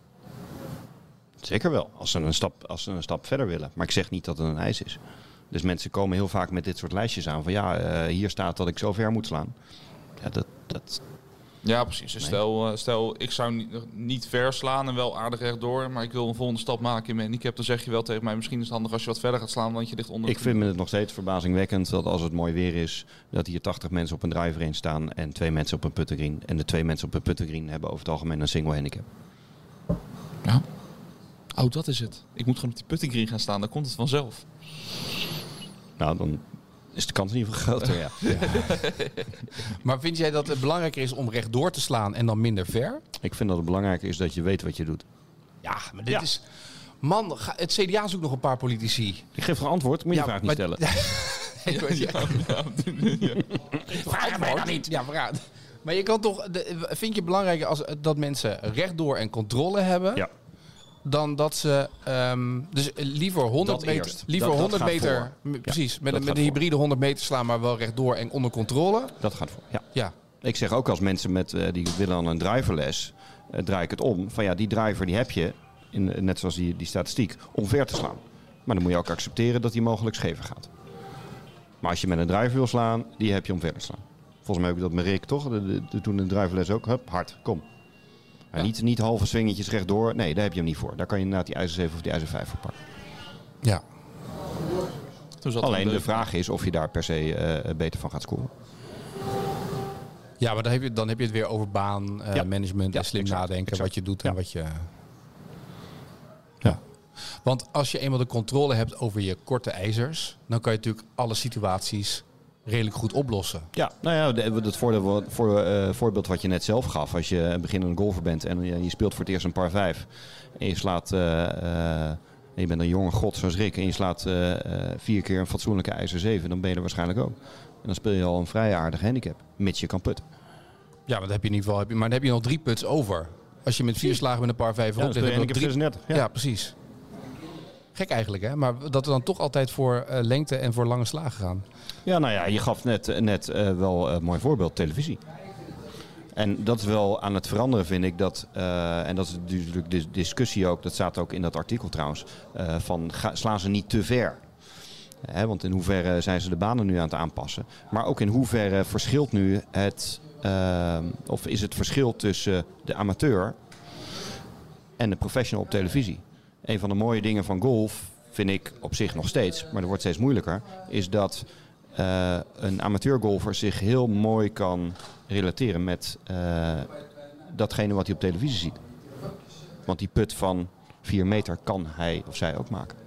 Speaker 2: Zeker wel, als ze, een stap, als ze een stap verder willen. Maar ik zeg niet dat het een ijs is. Dus mensen komen heel vaak met dit soort lijstjes aan. Van ja, eh, hier staat dat ik zo ver moet slaan. Ja, dat, dat,
Speaker 5: Ja, precies. Dus
Speaker 2: Nee.
Speaker 5: stel, eh, stel, ik zou niet, niet ver slaan en wel aardig rechtdoor, maar ik wil een volgende stap maken in mijn handicap. Dan zeg je wel tegen mij, misschien is het handig als je wat verder gaat slaan, want je ligt onder.
Speaker 2: ik vind het nog steeds verbazingwekkend dat als het mooi weer is... dat hier 80 mensen op een driver in staan en twee mensen op een puttengreen. En de twee mensen op een puttengreen hebben over het algemeen een single handicap.
Speaker 5: Ja. Oh, dat is het. Ik moet gewoon op die puttingring gaan staan, dan komt het vanzelf.
Speaker 2: Nou, dan is de kans in ieder geval groter, ja.
Speaker 1: Maar vind jij dat het belangrijker is om rechtdoor te slaan en dan minder ver?
Speaker 2: Ik vind dat het belangrijk is dat je weet wat je doet.
Speaker 1: Ja, maar dit is... Man, ga- het CDA zoekt nog een paar politici.
Speaker 2: Ik geef geen antwoord, moet je de vraag niet
Speaker 1: maar-
Speaker 2: stellen.
Speaker 1: Ik weet- Vraag mij dan niet. Ja, vraag. Maar je kan toch... de- vind je het belangrijker als, dat mensen rechtdoor en controle hebben...
Speaker 2: Ja.
Speaker 1: dan dat ze... ehm, dus liever 100
Speaker 2: Dat
Speaker 1: meter...
Speaker 2: eerst.
Speaker 1: Liever
Speaker 2: Dat- dat
Speaker 1: 100
Speaker 2: gaat
Speaker 1: meter...
Speaker 2: voor.
Speaker 1: m- Precies, met,
Speaker 2: dat
Speaker 1: een- met een
Speaker 2: gaat voor.
Speaker 1: hybride 100 meter slaan... maar wel rechtdoor en onder controle.
Speaker 2: Dat gaat voor, ja.
Speaker 1: Ja,
Speaker 2: Ik zeg ook als mensen met, eh, die willen dan een driverles, eh, draai ik het om. Van ja, die driver die heb je, in, eh, net zoals die, die statistiek, om ver te slaan. Maar dan moet je ook accepteren dat die mogelijk schever gaat. Maar als je met een driver wil slaan, die heb je om ver te slaan. Volgens mij heb ik dat met Rick toch? De, de, de- toen een driverles ook. Hup, hard, kom. Maar niet, niet halve swingetjes rechtdoor. Nee, daar heb je hem niet voor. Daar kan je inderdaad die ijzer 7 of die ijzer 5 voor pakken.
Speaker 1: ja.
Speaker 5: Toen zat er
Speaker 2: Alleen
Speaker 5: een
Speaker 2: de
Speaker 5: deuk.
Speaker 2: vraag is of je daar per se eh, beter van gaat scoren.
Speaker 1: Ja, maar dan heb je, dan heb je het weer over baan, eh,
Speaker 2: Ja.
Speaker 1: management
Speaker 2: Ja,
Speaker 1: en slim
Speaker 2: exact,
Speaker 1: nadenken.
Speaker 2: exact.
Speaker 1: Wat je doet en
Speaker 2: Ja.
Speaker 1: wat je... Ja. Want als je eenmaal de controle hebt over je korte ijzers... dan kan je natuurlijk alle situaties redelijk goed oplossen.
Speaker 2: Ja, nou ja, de- dat voordeel, wat- voor, eh, voorbeeld wat je net zelf gaf. Als je een beginnende golfer bent en je, je speelt voor het eerst een par vijf. En je slaat, eh, eh, en je bent een jonge god zoals Rick. En je slaat eh, eh, vier keer een fatsoenlijke ijzer zeven. Dan ben je er waarschijnlijk ook. En dan speel je al een vrij aardig handicap. Mits je kan putten.
Speaker 1: Ja, maar dan heb je in ieder geval... Heb je, maar dan heb je nog drie puts over. Als je met vier slagen met een paar vijf
Speaker 2: Ja, dan
Speaker 1: rond...
Speaker 2: speel je
Speaker 1: heb
Speaker 2: handicap
Speaker 1: je nog drie...
Speaker 2: 36.
Speaker 1: ja.
Speaker 2: Ja.
Speaker 1: precies. Gek eigenlijk, hè? Maar dat we dan toch altijd voor eh, lengte en voor lange slagen gaan.
Speaker 2: Ja, nou ja, je gaf net, net eh, wel een mooi voorbeeld, televisie. En dat is wel aan het veranderen, vind ik. Dat, eh, en dat is natuurlijk de discussie ook, dat staat ook in dat artikel trouwens, eh, van ga, slaan ze niet te ver. Hè, want in hoeverre zijn ze de banen nu aan het aanpassen. Maar ook in hoeverre verschilt nu het, eh, of is het verschil tussen de amateur en de professional op televisie. Een van de mooie dingen van golf, vind ik op zich nog steeds, maar dat wordt steeds moeilijker, is dat eh, een amateurgolfer zich heel mooi kan relateren met eh, datgene wat hij op televisie ziet. Want die put van 4 meter kan hij of zij ook maken.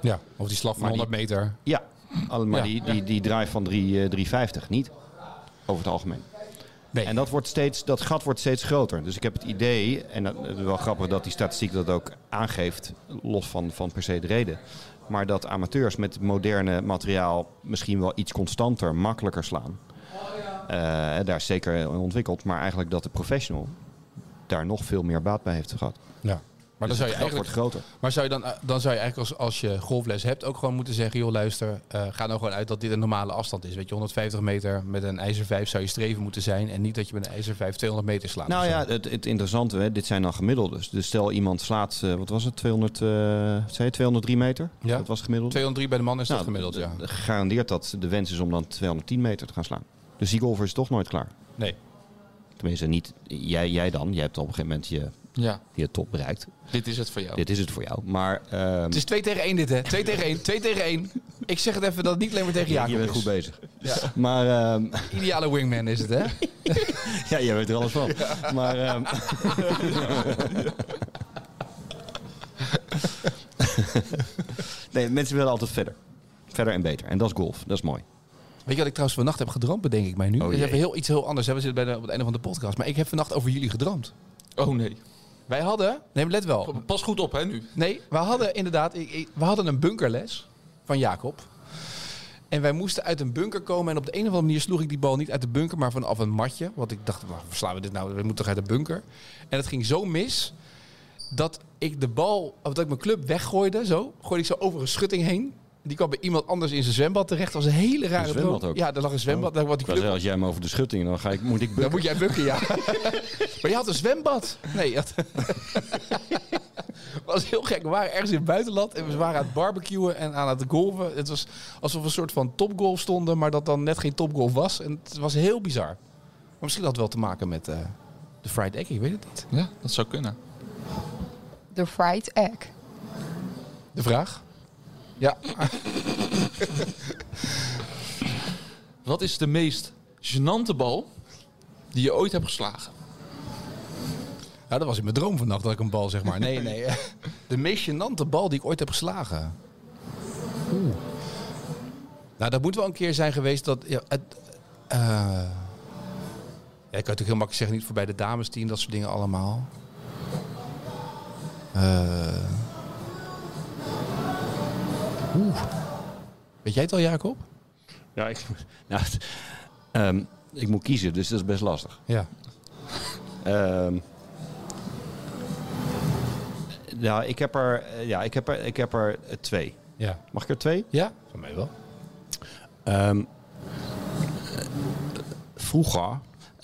Speaker 1: Ja, of die slag van
Speaker 2: Maar die-
Speaker 1: 100 meter.
Speaker 2: Ja, al-
Speaker 1: Ja,
Speaker 2: maar die, die, die drive van drie, eh, 350 niet, over het algemeen.
Speaker 1: Nee.
Speaker 2: En dat, wordt steeds, dat gat wordt steeds groter. Dus ik heb het idee, en dat het is wel grappig dat die statistiek dat ook aangeeft, los van, van per se de reden. Maar dat amateurs met moderne materiaal misschien wel iets constanter, makkelijker slaan. Eh, daar is zeker in ontwikkeld, maar eigenlijk dat de professional daar nog veel meer baat bij heeft gehad.
Speaker 1: Ja. Maar dan
Speaker 2: Dus
Speaker 1: zou je
Speaker 2: het gat
Speaker 1: eigenlijk
Speaker 2: wordt groter.
Speaker 1: Maar zou je dan, eh, dan zou je eigenlijk als, als je golfles hebt ook gewoon moeten zeggen... joh, luister, eh, ga nou gewoon uit dat dit een normale afstand is. Weet je, 150 meter met een ijzer 5 zou je streven moeten zijn... en niet dat je met een ijzer 5 200 meter slaat. Dus
Speaker 2: Nou
Speaker 1: of zo.
Speaker 2: ja, het, het interessante, hè, dit zijn dan gemiddeldes. Dus stel iemand slaat, eh, wat was het, 200, eh, zei je, 203 meter?
Speaker 1: Ja.
Speaker 2: Dat was het gemiddelde.
Speaker 1: 203 bij de man is
Speaker 2: Nou,
Speaker 1: dat gemiddeld, ja.
Speaker 2: d- d- Gegarandeerd dat de wens is om dan 210 meter te gaan slaan. Dus die golfer is toch nooit klaar.
Speaker 1: Nee.
Speaker 2: Tenminste, niet jij, jij dan. Jij hebt op een gegeven moment je,
Speaker 5: Ja,
Speaker 2: je top bereikt.
Speaker 5: dit is het voor jou.
Speaker 2: Dit is het voor jou. Maar ehm,
Speaker 1: Oh. Het is 2 tegen 1 dit, hè. 2 tegen 1, 2 tegen 1. Ik zeg het even dat het niet alleen maar tegen
Speaker 2: je
Speaker 1: Jacob
Speaker 2: bent goed
Speaker 1: is.
Speaker 2: bezig. Maar ehm,
Speaker 1: Ideale wingman is het, hè.
Speaker 2: Ja, jij weet er alles van. Maar. ehm, nee, mensen willen altijd verder. Verder en beter. En dat is golf. Dat is mooi.
Speaker 1: Weet je wat ik trouwens vannacht heb gedroomd, bedenk ik mij nu?
Speaker 2: Oh,
Speaker 1: we
Speaker 2: jee.
Speaker 1: hebben heel, iets heel anders. Hè? We zitten bij de, op het einde van de podcast. Maar ik heb vannacht over jullie gedroomd.
Speaker 5: Oh nee.
Speaker 1: Wij hadden... Nee, maar let wel.
Speaker 5: Oh, Pas goed op, hè, nu.
Speaker 1: Nee, we hadden inderdaad ik, ik- we hadden een bunkerles van Jacob. En wij moesten uit een bunker komen. En op de een of andere manier sloeg ik die bal niet uit de bunker, maar vanaf een matje. Want ik dacht, waar slaan we dit nou? We moeten toch uit de bunker? En het ging zo mis dat ik de bal, of dat ik mijn club weggooide, zo. Gooide ik zo over een schutting heen. Die kwam bij iemand anders in zijn zwembad terecht. Dat was een hele rare
Speaker 2: Een zwembad
Speaker 1: droom.
Speaker 2: ook? Oh,
Speaker 1: Ja, daar lag een zwembad. Daar, wat die
Speaker 2: Ik
Speaker 1: club
Speaker 2: wou zeggen, als jij me over de schutting, dan ga ik, moet ik
Speaker 1: dan
Speaker 2: bukken.
Speaker 1: moet jij bukken, ja. maar je had een zwembad. Nee, je had... was heel gek. We waren ergens in het buitenland en we waren aan het barbecuen en aan het golven. Het was alsof we een soort van topgolf stonden, maar dat dan net geen topgolf was. En het was heel bizar. Maar misschien had het wel te maken met eh, de fried egg, ik weet het niet.
Speaker 5: Ja, dat zou kunnen.
Speaker 7: De fried egg.
Speaker 1: De vraag? Ja.
Speaker 5: Wat is de meest gênante bal die je ooit hebt geslagen?
Speaker 1: Nou, dat was in mijn droom vannacht dat ik een bal, zeg maar. Nee, nee. eh, De meest gênante bal die ik ooit heb geslagen. Oeh. Nou, dat moet wel een keer zijn geweest dat... Ja, het, eh, ja, ik kan natuurlijk heel makkelijk zeggen, niet voor bij de damesteam, dat soort dingen allemaal. Eh. Oeh. Weet jij het al, Jacob?
Speaker 2: Ja, ik, nou, het- ehm, ik moet kiezen, dus dat is best lastig.
Speaker 1: Ja.
Speaker 2: Ehm nou, ik heb er, eh, ja, ik heb er, ik heb er eh, twee.
Speaker 1: Ja.
Speaker 2: Mag ik er twee?
Speaker 1: Ja? Van mij wel.
Speaker 2: Ehm, vroeger,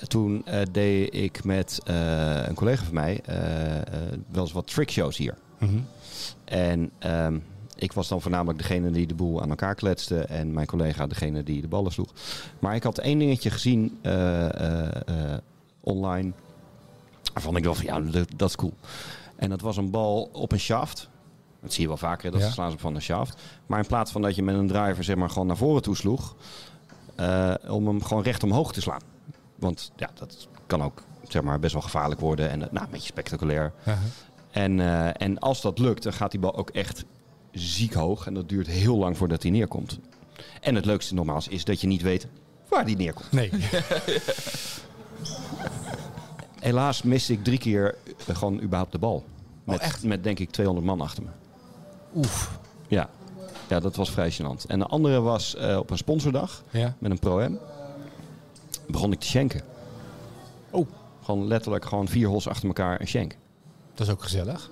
Speaker 2: toen eh, deed ik met eh, een collega van mij eh, eh, wel eens wat trickshows hier. En ehm, ik was dan voornamelijk degene die de boel aan elkaar kletste en mijn collega degene die de ballen sloeg. Maar ik had één dingetje gezien eh, eh, eh, online waarvan ik dacht van ja, dat, dat is cool. En dat was een bal op een shaft. Dat zie je wel vaker, hè, dat
Speaker 1: Ja.
Speaker 2: ze slaan ze van een shaft. Maar in plaats van dat je met een driver zeg maar gewoon naar voren toe sloeg, eh, om hem gewoon recht omhoog te slaan. Want ja, dat kan ook zeg maar, best wel gevaarlijk worden en eh, nou, een beetje spectaculair. En, eh, en als dat lukt, dan gaat die bal ook echt ziek hoog. En dat duurt heel lang voordat hij neerkomt. En het leukste nogmaals is dat je niet weet waar die neerkomt.
Speaker 1: Nee.
Speaker 2: Helaas miste ik drie keer eh, gewoon überhaupt de bal. Met,
Speaker 1: echt?
Speaker 2: met denk ik 200 man achter me.
Speaker 1: Oef.
Speaker 2: Ja, ja dat was vrij gênant. En de andere was eh, op een sponsordag
Speaker 1: Ja.
Speaker 2: met een pro-am. Begon ik te schenken. Oh. Gewoon letterlijk gewoon vier hols achter elkaar een schenk.
Speaker 1: Dat is ook gezellig.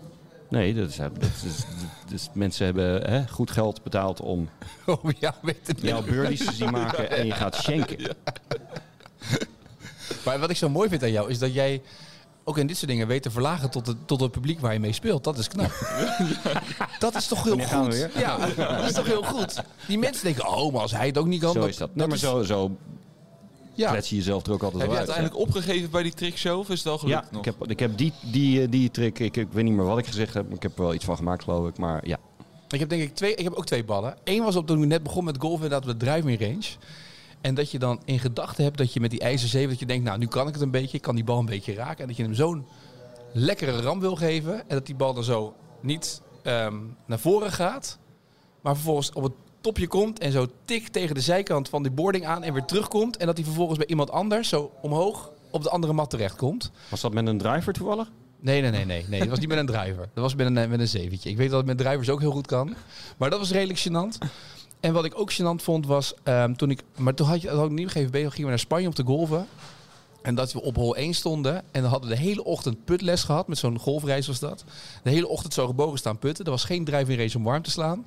Speaker 2: Nee, dat is, dat is- dat is- mensen hebben hè, goed geld betaald om
Speaker 1: Oh ja, weet het niet.
Speaker 2: jouw birdies te zien maken en je gaat schenken.
Speaker 1: Maar wat ik zo mooi vind aan jou is dat jij ook in dit soort dingen weet te verlagen tot het, tot het publiek waar je mee speelt. Dat is knap. dat is toch heel
Speaker 2: Wanneer gaan we
Speaker 1: goed.
Speaker 2: weer?
Speaker 1: Ja, dat is toch heel goed. Die mensen denken, oh, maar als hij het ook niet kan.
Speaker 2: Zo is dat. Nee, maar
Speaker 1: is-
Speaker 2: zo, zo
Speaker 1: Ja.
Speaker 2: klets je jezelf er ook altijd
Speaker 5: Heb je
Speaker 2: wel uit.
Speaker 5: uiteindelijk opgegeven bij die trickshow of is het al gelukt
Speaker 2: Ja, ik
Speaker 5: nog?
Speaker 2: heb, ik heb die, die, eh, die trick, ik, ik weet niet meer wat ik gezegd heb, maar ik heb er wel iets van gemaakt geloof ik. Maar ja,
Speaker 1: Ik heb denk ik twee, ik heb ook twee ballen. Eén was op toen ik net begon met golf inderdaad op de driving range. En dat je dan in gedachten hebt dat je met die ijzer 7, dat je denkt, nou nu kan ik het een beetje, ik kan die bal een beetje raken. En dat je hem zo'n lekkere ram wil geven. En dat die bal dan zo niet ehm, naar voren gaat, maar vervolgens op het topje komt en zo tik tegen de zijkant van die boarding aan en weer terugkomt. En dat hij vervolgens bij iemand anders zo omhoog op de andere mat terechtkomt.
Speaker 2: was dat met een driver toevallig?
Speaker 1: Nee, nee, nee, nee, nee. Dat was niet met een driver. Dat was met een, eh, met een zeventje. Ik weet dat het met drivers ook heel goed kan. Maar dat was redelijk gênant. En wat ik ook gênant vond was ehm, toen ik. Maar toen had je dat ook niet gegeven. Gingen we naar Spanje om te golven. En dat we op hol 1 stonden. En dan hadden we de hele ochtend putles gehad. Met zo'n golfreis was dat. De hele ochtend zo gebogen staan putten. Er was geen driving race om warm te slaan.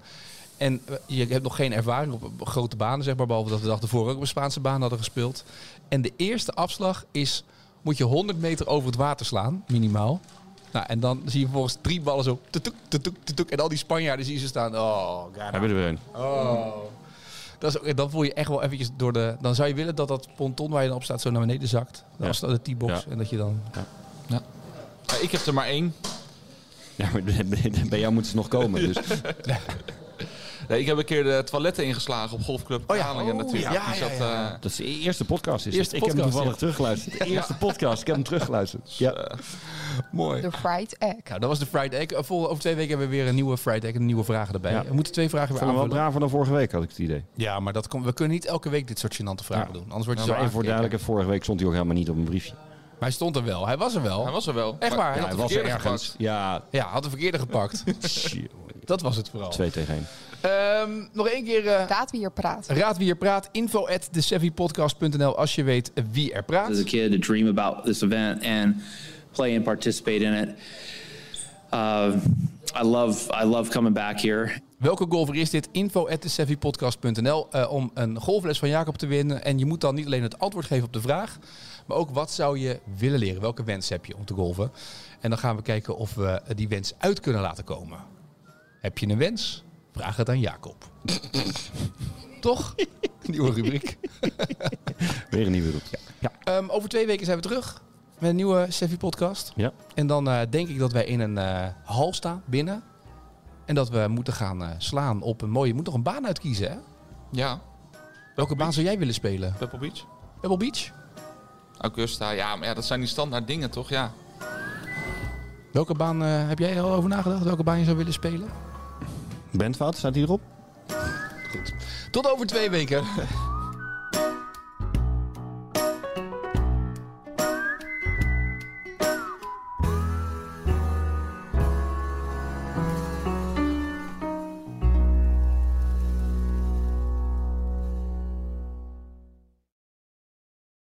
Speaker 1: En eh, je hebt nog geen ervaring op op grote banen, zeg maar. Behalve dat we de dag ervoor ook op een Spaanse baan hadden gespeeld. En de eerste afslag is... Moet je 100 meter over het water slaan, minimaal. Nou, en dan zie je vervolgens drie ballen zo... tutuk, tutuk, tutuk, en al die Spanjaarden zien ze staan. Oh, god.
Speaker 2: Hebben we er een.
Speaker 1: Oh. Dat is ook, dan voel je echt wel eventjes door de... Dan zou je willen dat dat ponton waar je dan op staat zo naar beneden zakt.
Speaker 2: Ja.
Speaker 1: Dan staat de T-box.
Speaker 2: Ja.
Speaker 1: En dat je dan...
Speaker 5: Ja, ik heb er maar één.
Speaker 2: Ja, maar bij jou moeten ze nog komen. Dus.
Speaker 5: Nee, ik heb een keer de toiletten ingeslagen op golfclub
Speaker 1: ja.
Speaker 5: Kralingen
Speaker 1: Oh,
Speaker 5: natuurlijk.
Speaker 1: ja,
Speaker 5: Die
Speaker 1: ja,
Speaker 5: zat,
Speaker 1: ja.
Speaker 5: eh,
Speaker 2: Dat is de eerste podcast. Is
Speaker 1: Eerste
Speaker 2: het. ik heb hem
Speaker 1: podcast,
Speaker 2: toevallig teruggeluisterd. De eerste podcast. Ik heb hem teruggeluisterd. Ja.
Speaker 1: Mooi.
Speaker 7: De fried egg.
Speaker 1: Nou, dat was de Fried Egg. Eh, vol- Over twee weken hebben we weer een nieuwe Fried Egg en nieuwe vragen erbij.
Speaker 2: Ja.
Speaker 1: We moeten twee vragen
Speaker 2: Ik
Speaker 1: weer
Speaker 2: vond hem wel
Speaker 1: aanvullen.
Speaker 2: braver dan vorige week, had ik het idee.
Speaker 1: Ja, maar dat komt. we kunnen niet elke week dit soort gênante vragen
Speaker 2: Ja. Nou,
Speaker 1: doen. Anders wordt je
Speaker 2: Maar
Speaker 1: zo
Speaker 2: even voor
Speaker 1: aangekeken.
Speaker 2: duidelijkheid, vorige week stond hij ook helemaal niet op een briefje.
Speaker 1: Maar hij stond er wel. Hij was er wel.
Speaker 5: hij was er wel.
Speaker 1: Echt waar,
Speaker 5: hij
Speaker 1: ja,
Speaker 5: had de
Speaker 1: hij was er
Speaker 5: verkeerde
Speaker 1: ergens.
Speaker 5: gepakt.
Speaker 2: Ja,
Speaker 1: Ja, had de verkeerde gepakt. dat was het vooral.
Speaker 2: 2 tegen 1.
Speaker 1: Ehm, nog één keer. eh,
Speaker 7: Laten we hier praten.
Speaker 1: raad wie er praat. Info at thesevipodcast.nl als je weet wie er praat.
Speaker 6: as a kid to dream about this event and play and participate in it. Uh, I love I love coming back here.
Speaker 1: Welke golfer is dit? Info at thesevipodcast.nl eh, om een golfles van Jacob te winnen. En je moet dan niet alleen het antwoord geven op de vraag, maar ook wat zou je willen leren? Welke wens heb je om te golven? En dan gaan we kijken of we die wens uit kunnen laten komen. Heb je een wens? Vraag het aan Jacob. Toch? Nieuwe rubriek.
Speaker 2: Weer een nieuwe roep. Ja.
Speaker 1: Ehm, over twee weken zijn we terug met een nieuwe Sevi podcast.
Speaker 2: Ja.
Speaker 1: En dan eh, denk ik dat wij in een eh, hal staan binnen. En dat we moeten gaan eh, slaan op een mooie. Je moet nog een baan uitkiezen, hè?
Speaker 5: Ja,
Speaker 1: Welke baan zou jij willen spelen?
Speaker 5: Pebble Beach.
Speaker 1: Pebble Beach?
Speaker 5: Augusta, ja, maar ja, dat zijn die standaard dingen toch? Ja.
Speaker 1: Welke baan eh, heb jij al over nagedacht? Welke baan je zou willen spelen?
Speaker 2: Bentwoud, staat hij erop?
Speaker 1: Tot over twee weken.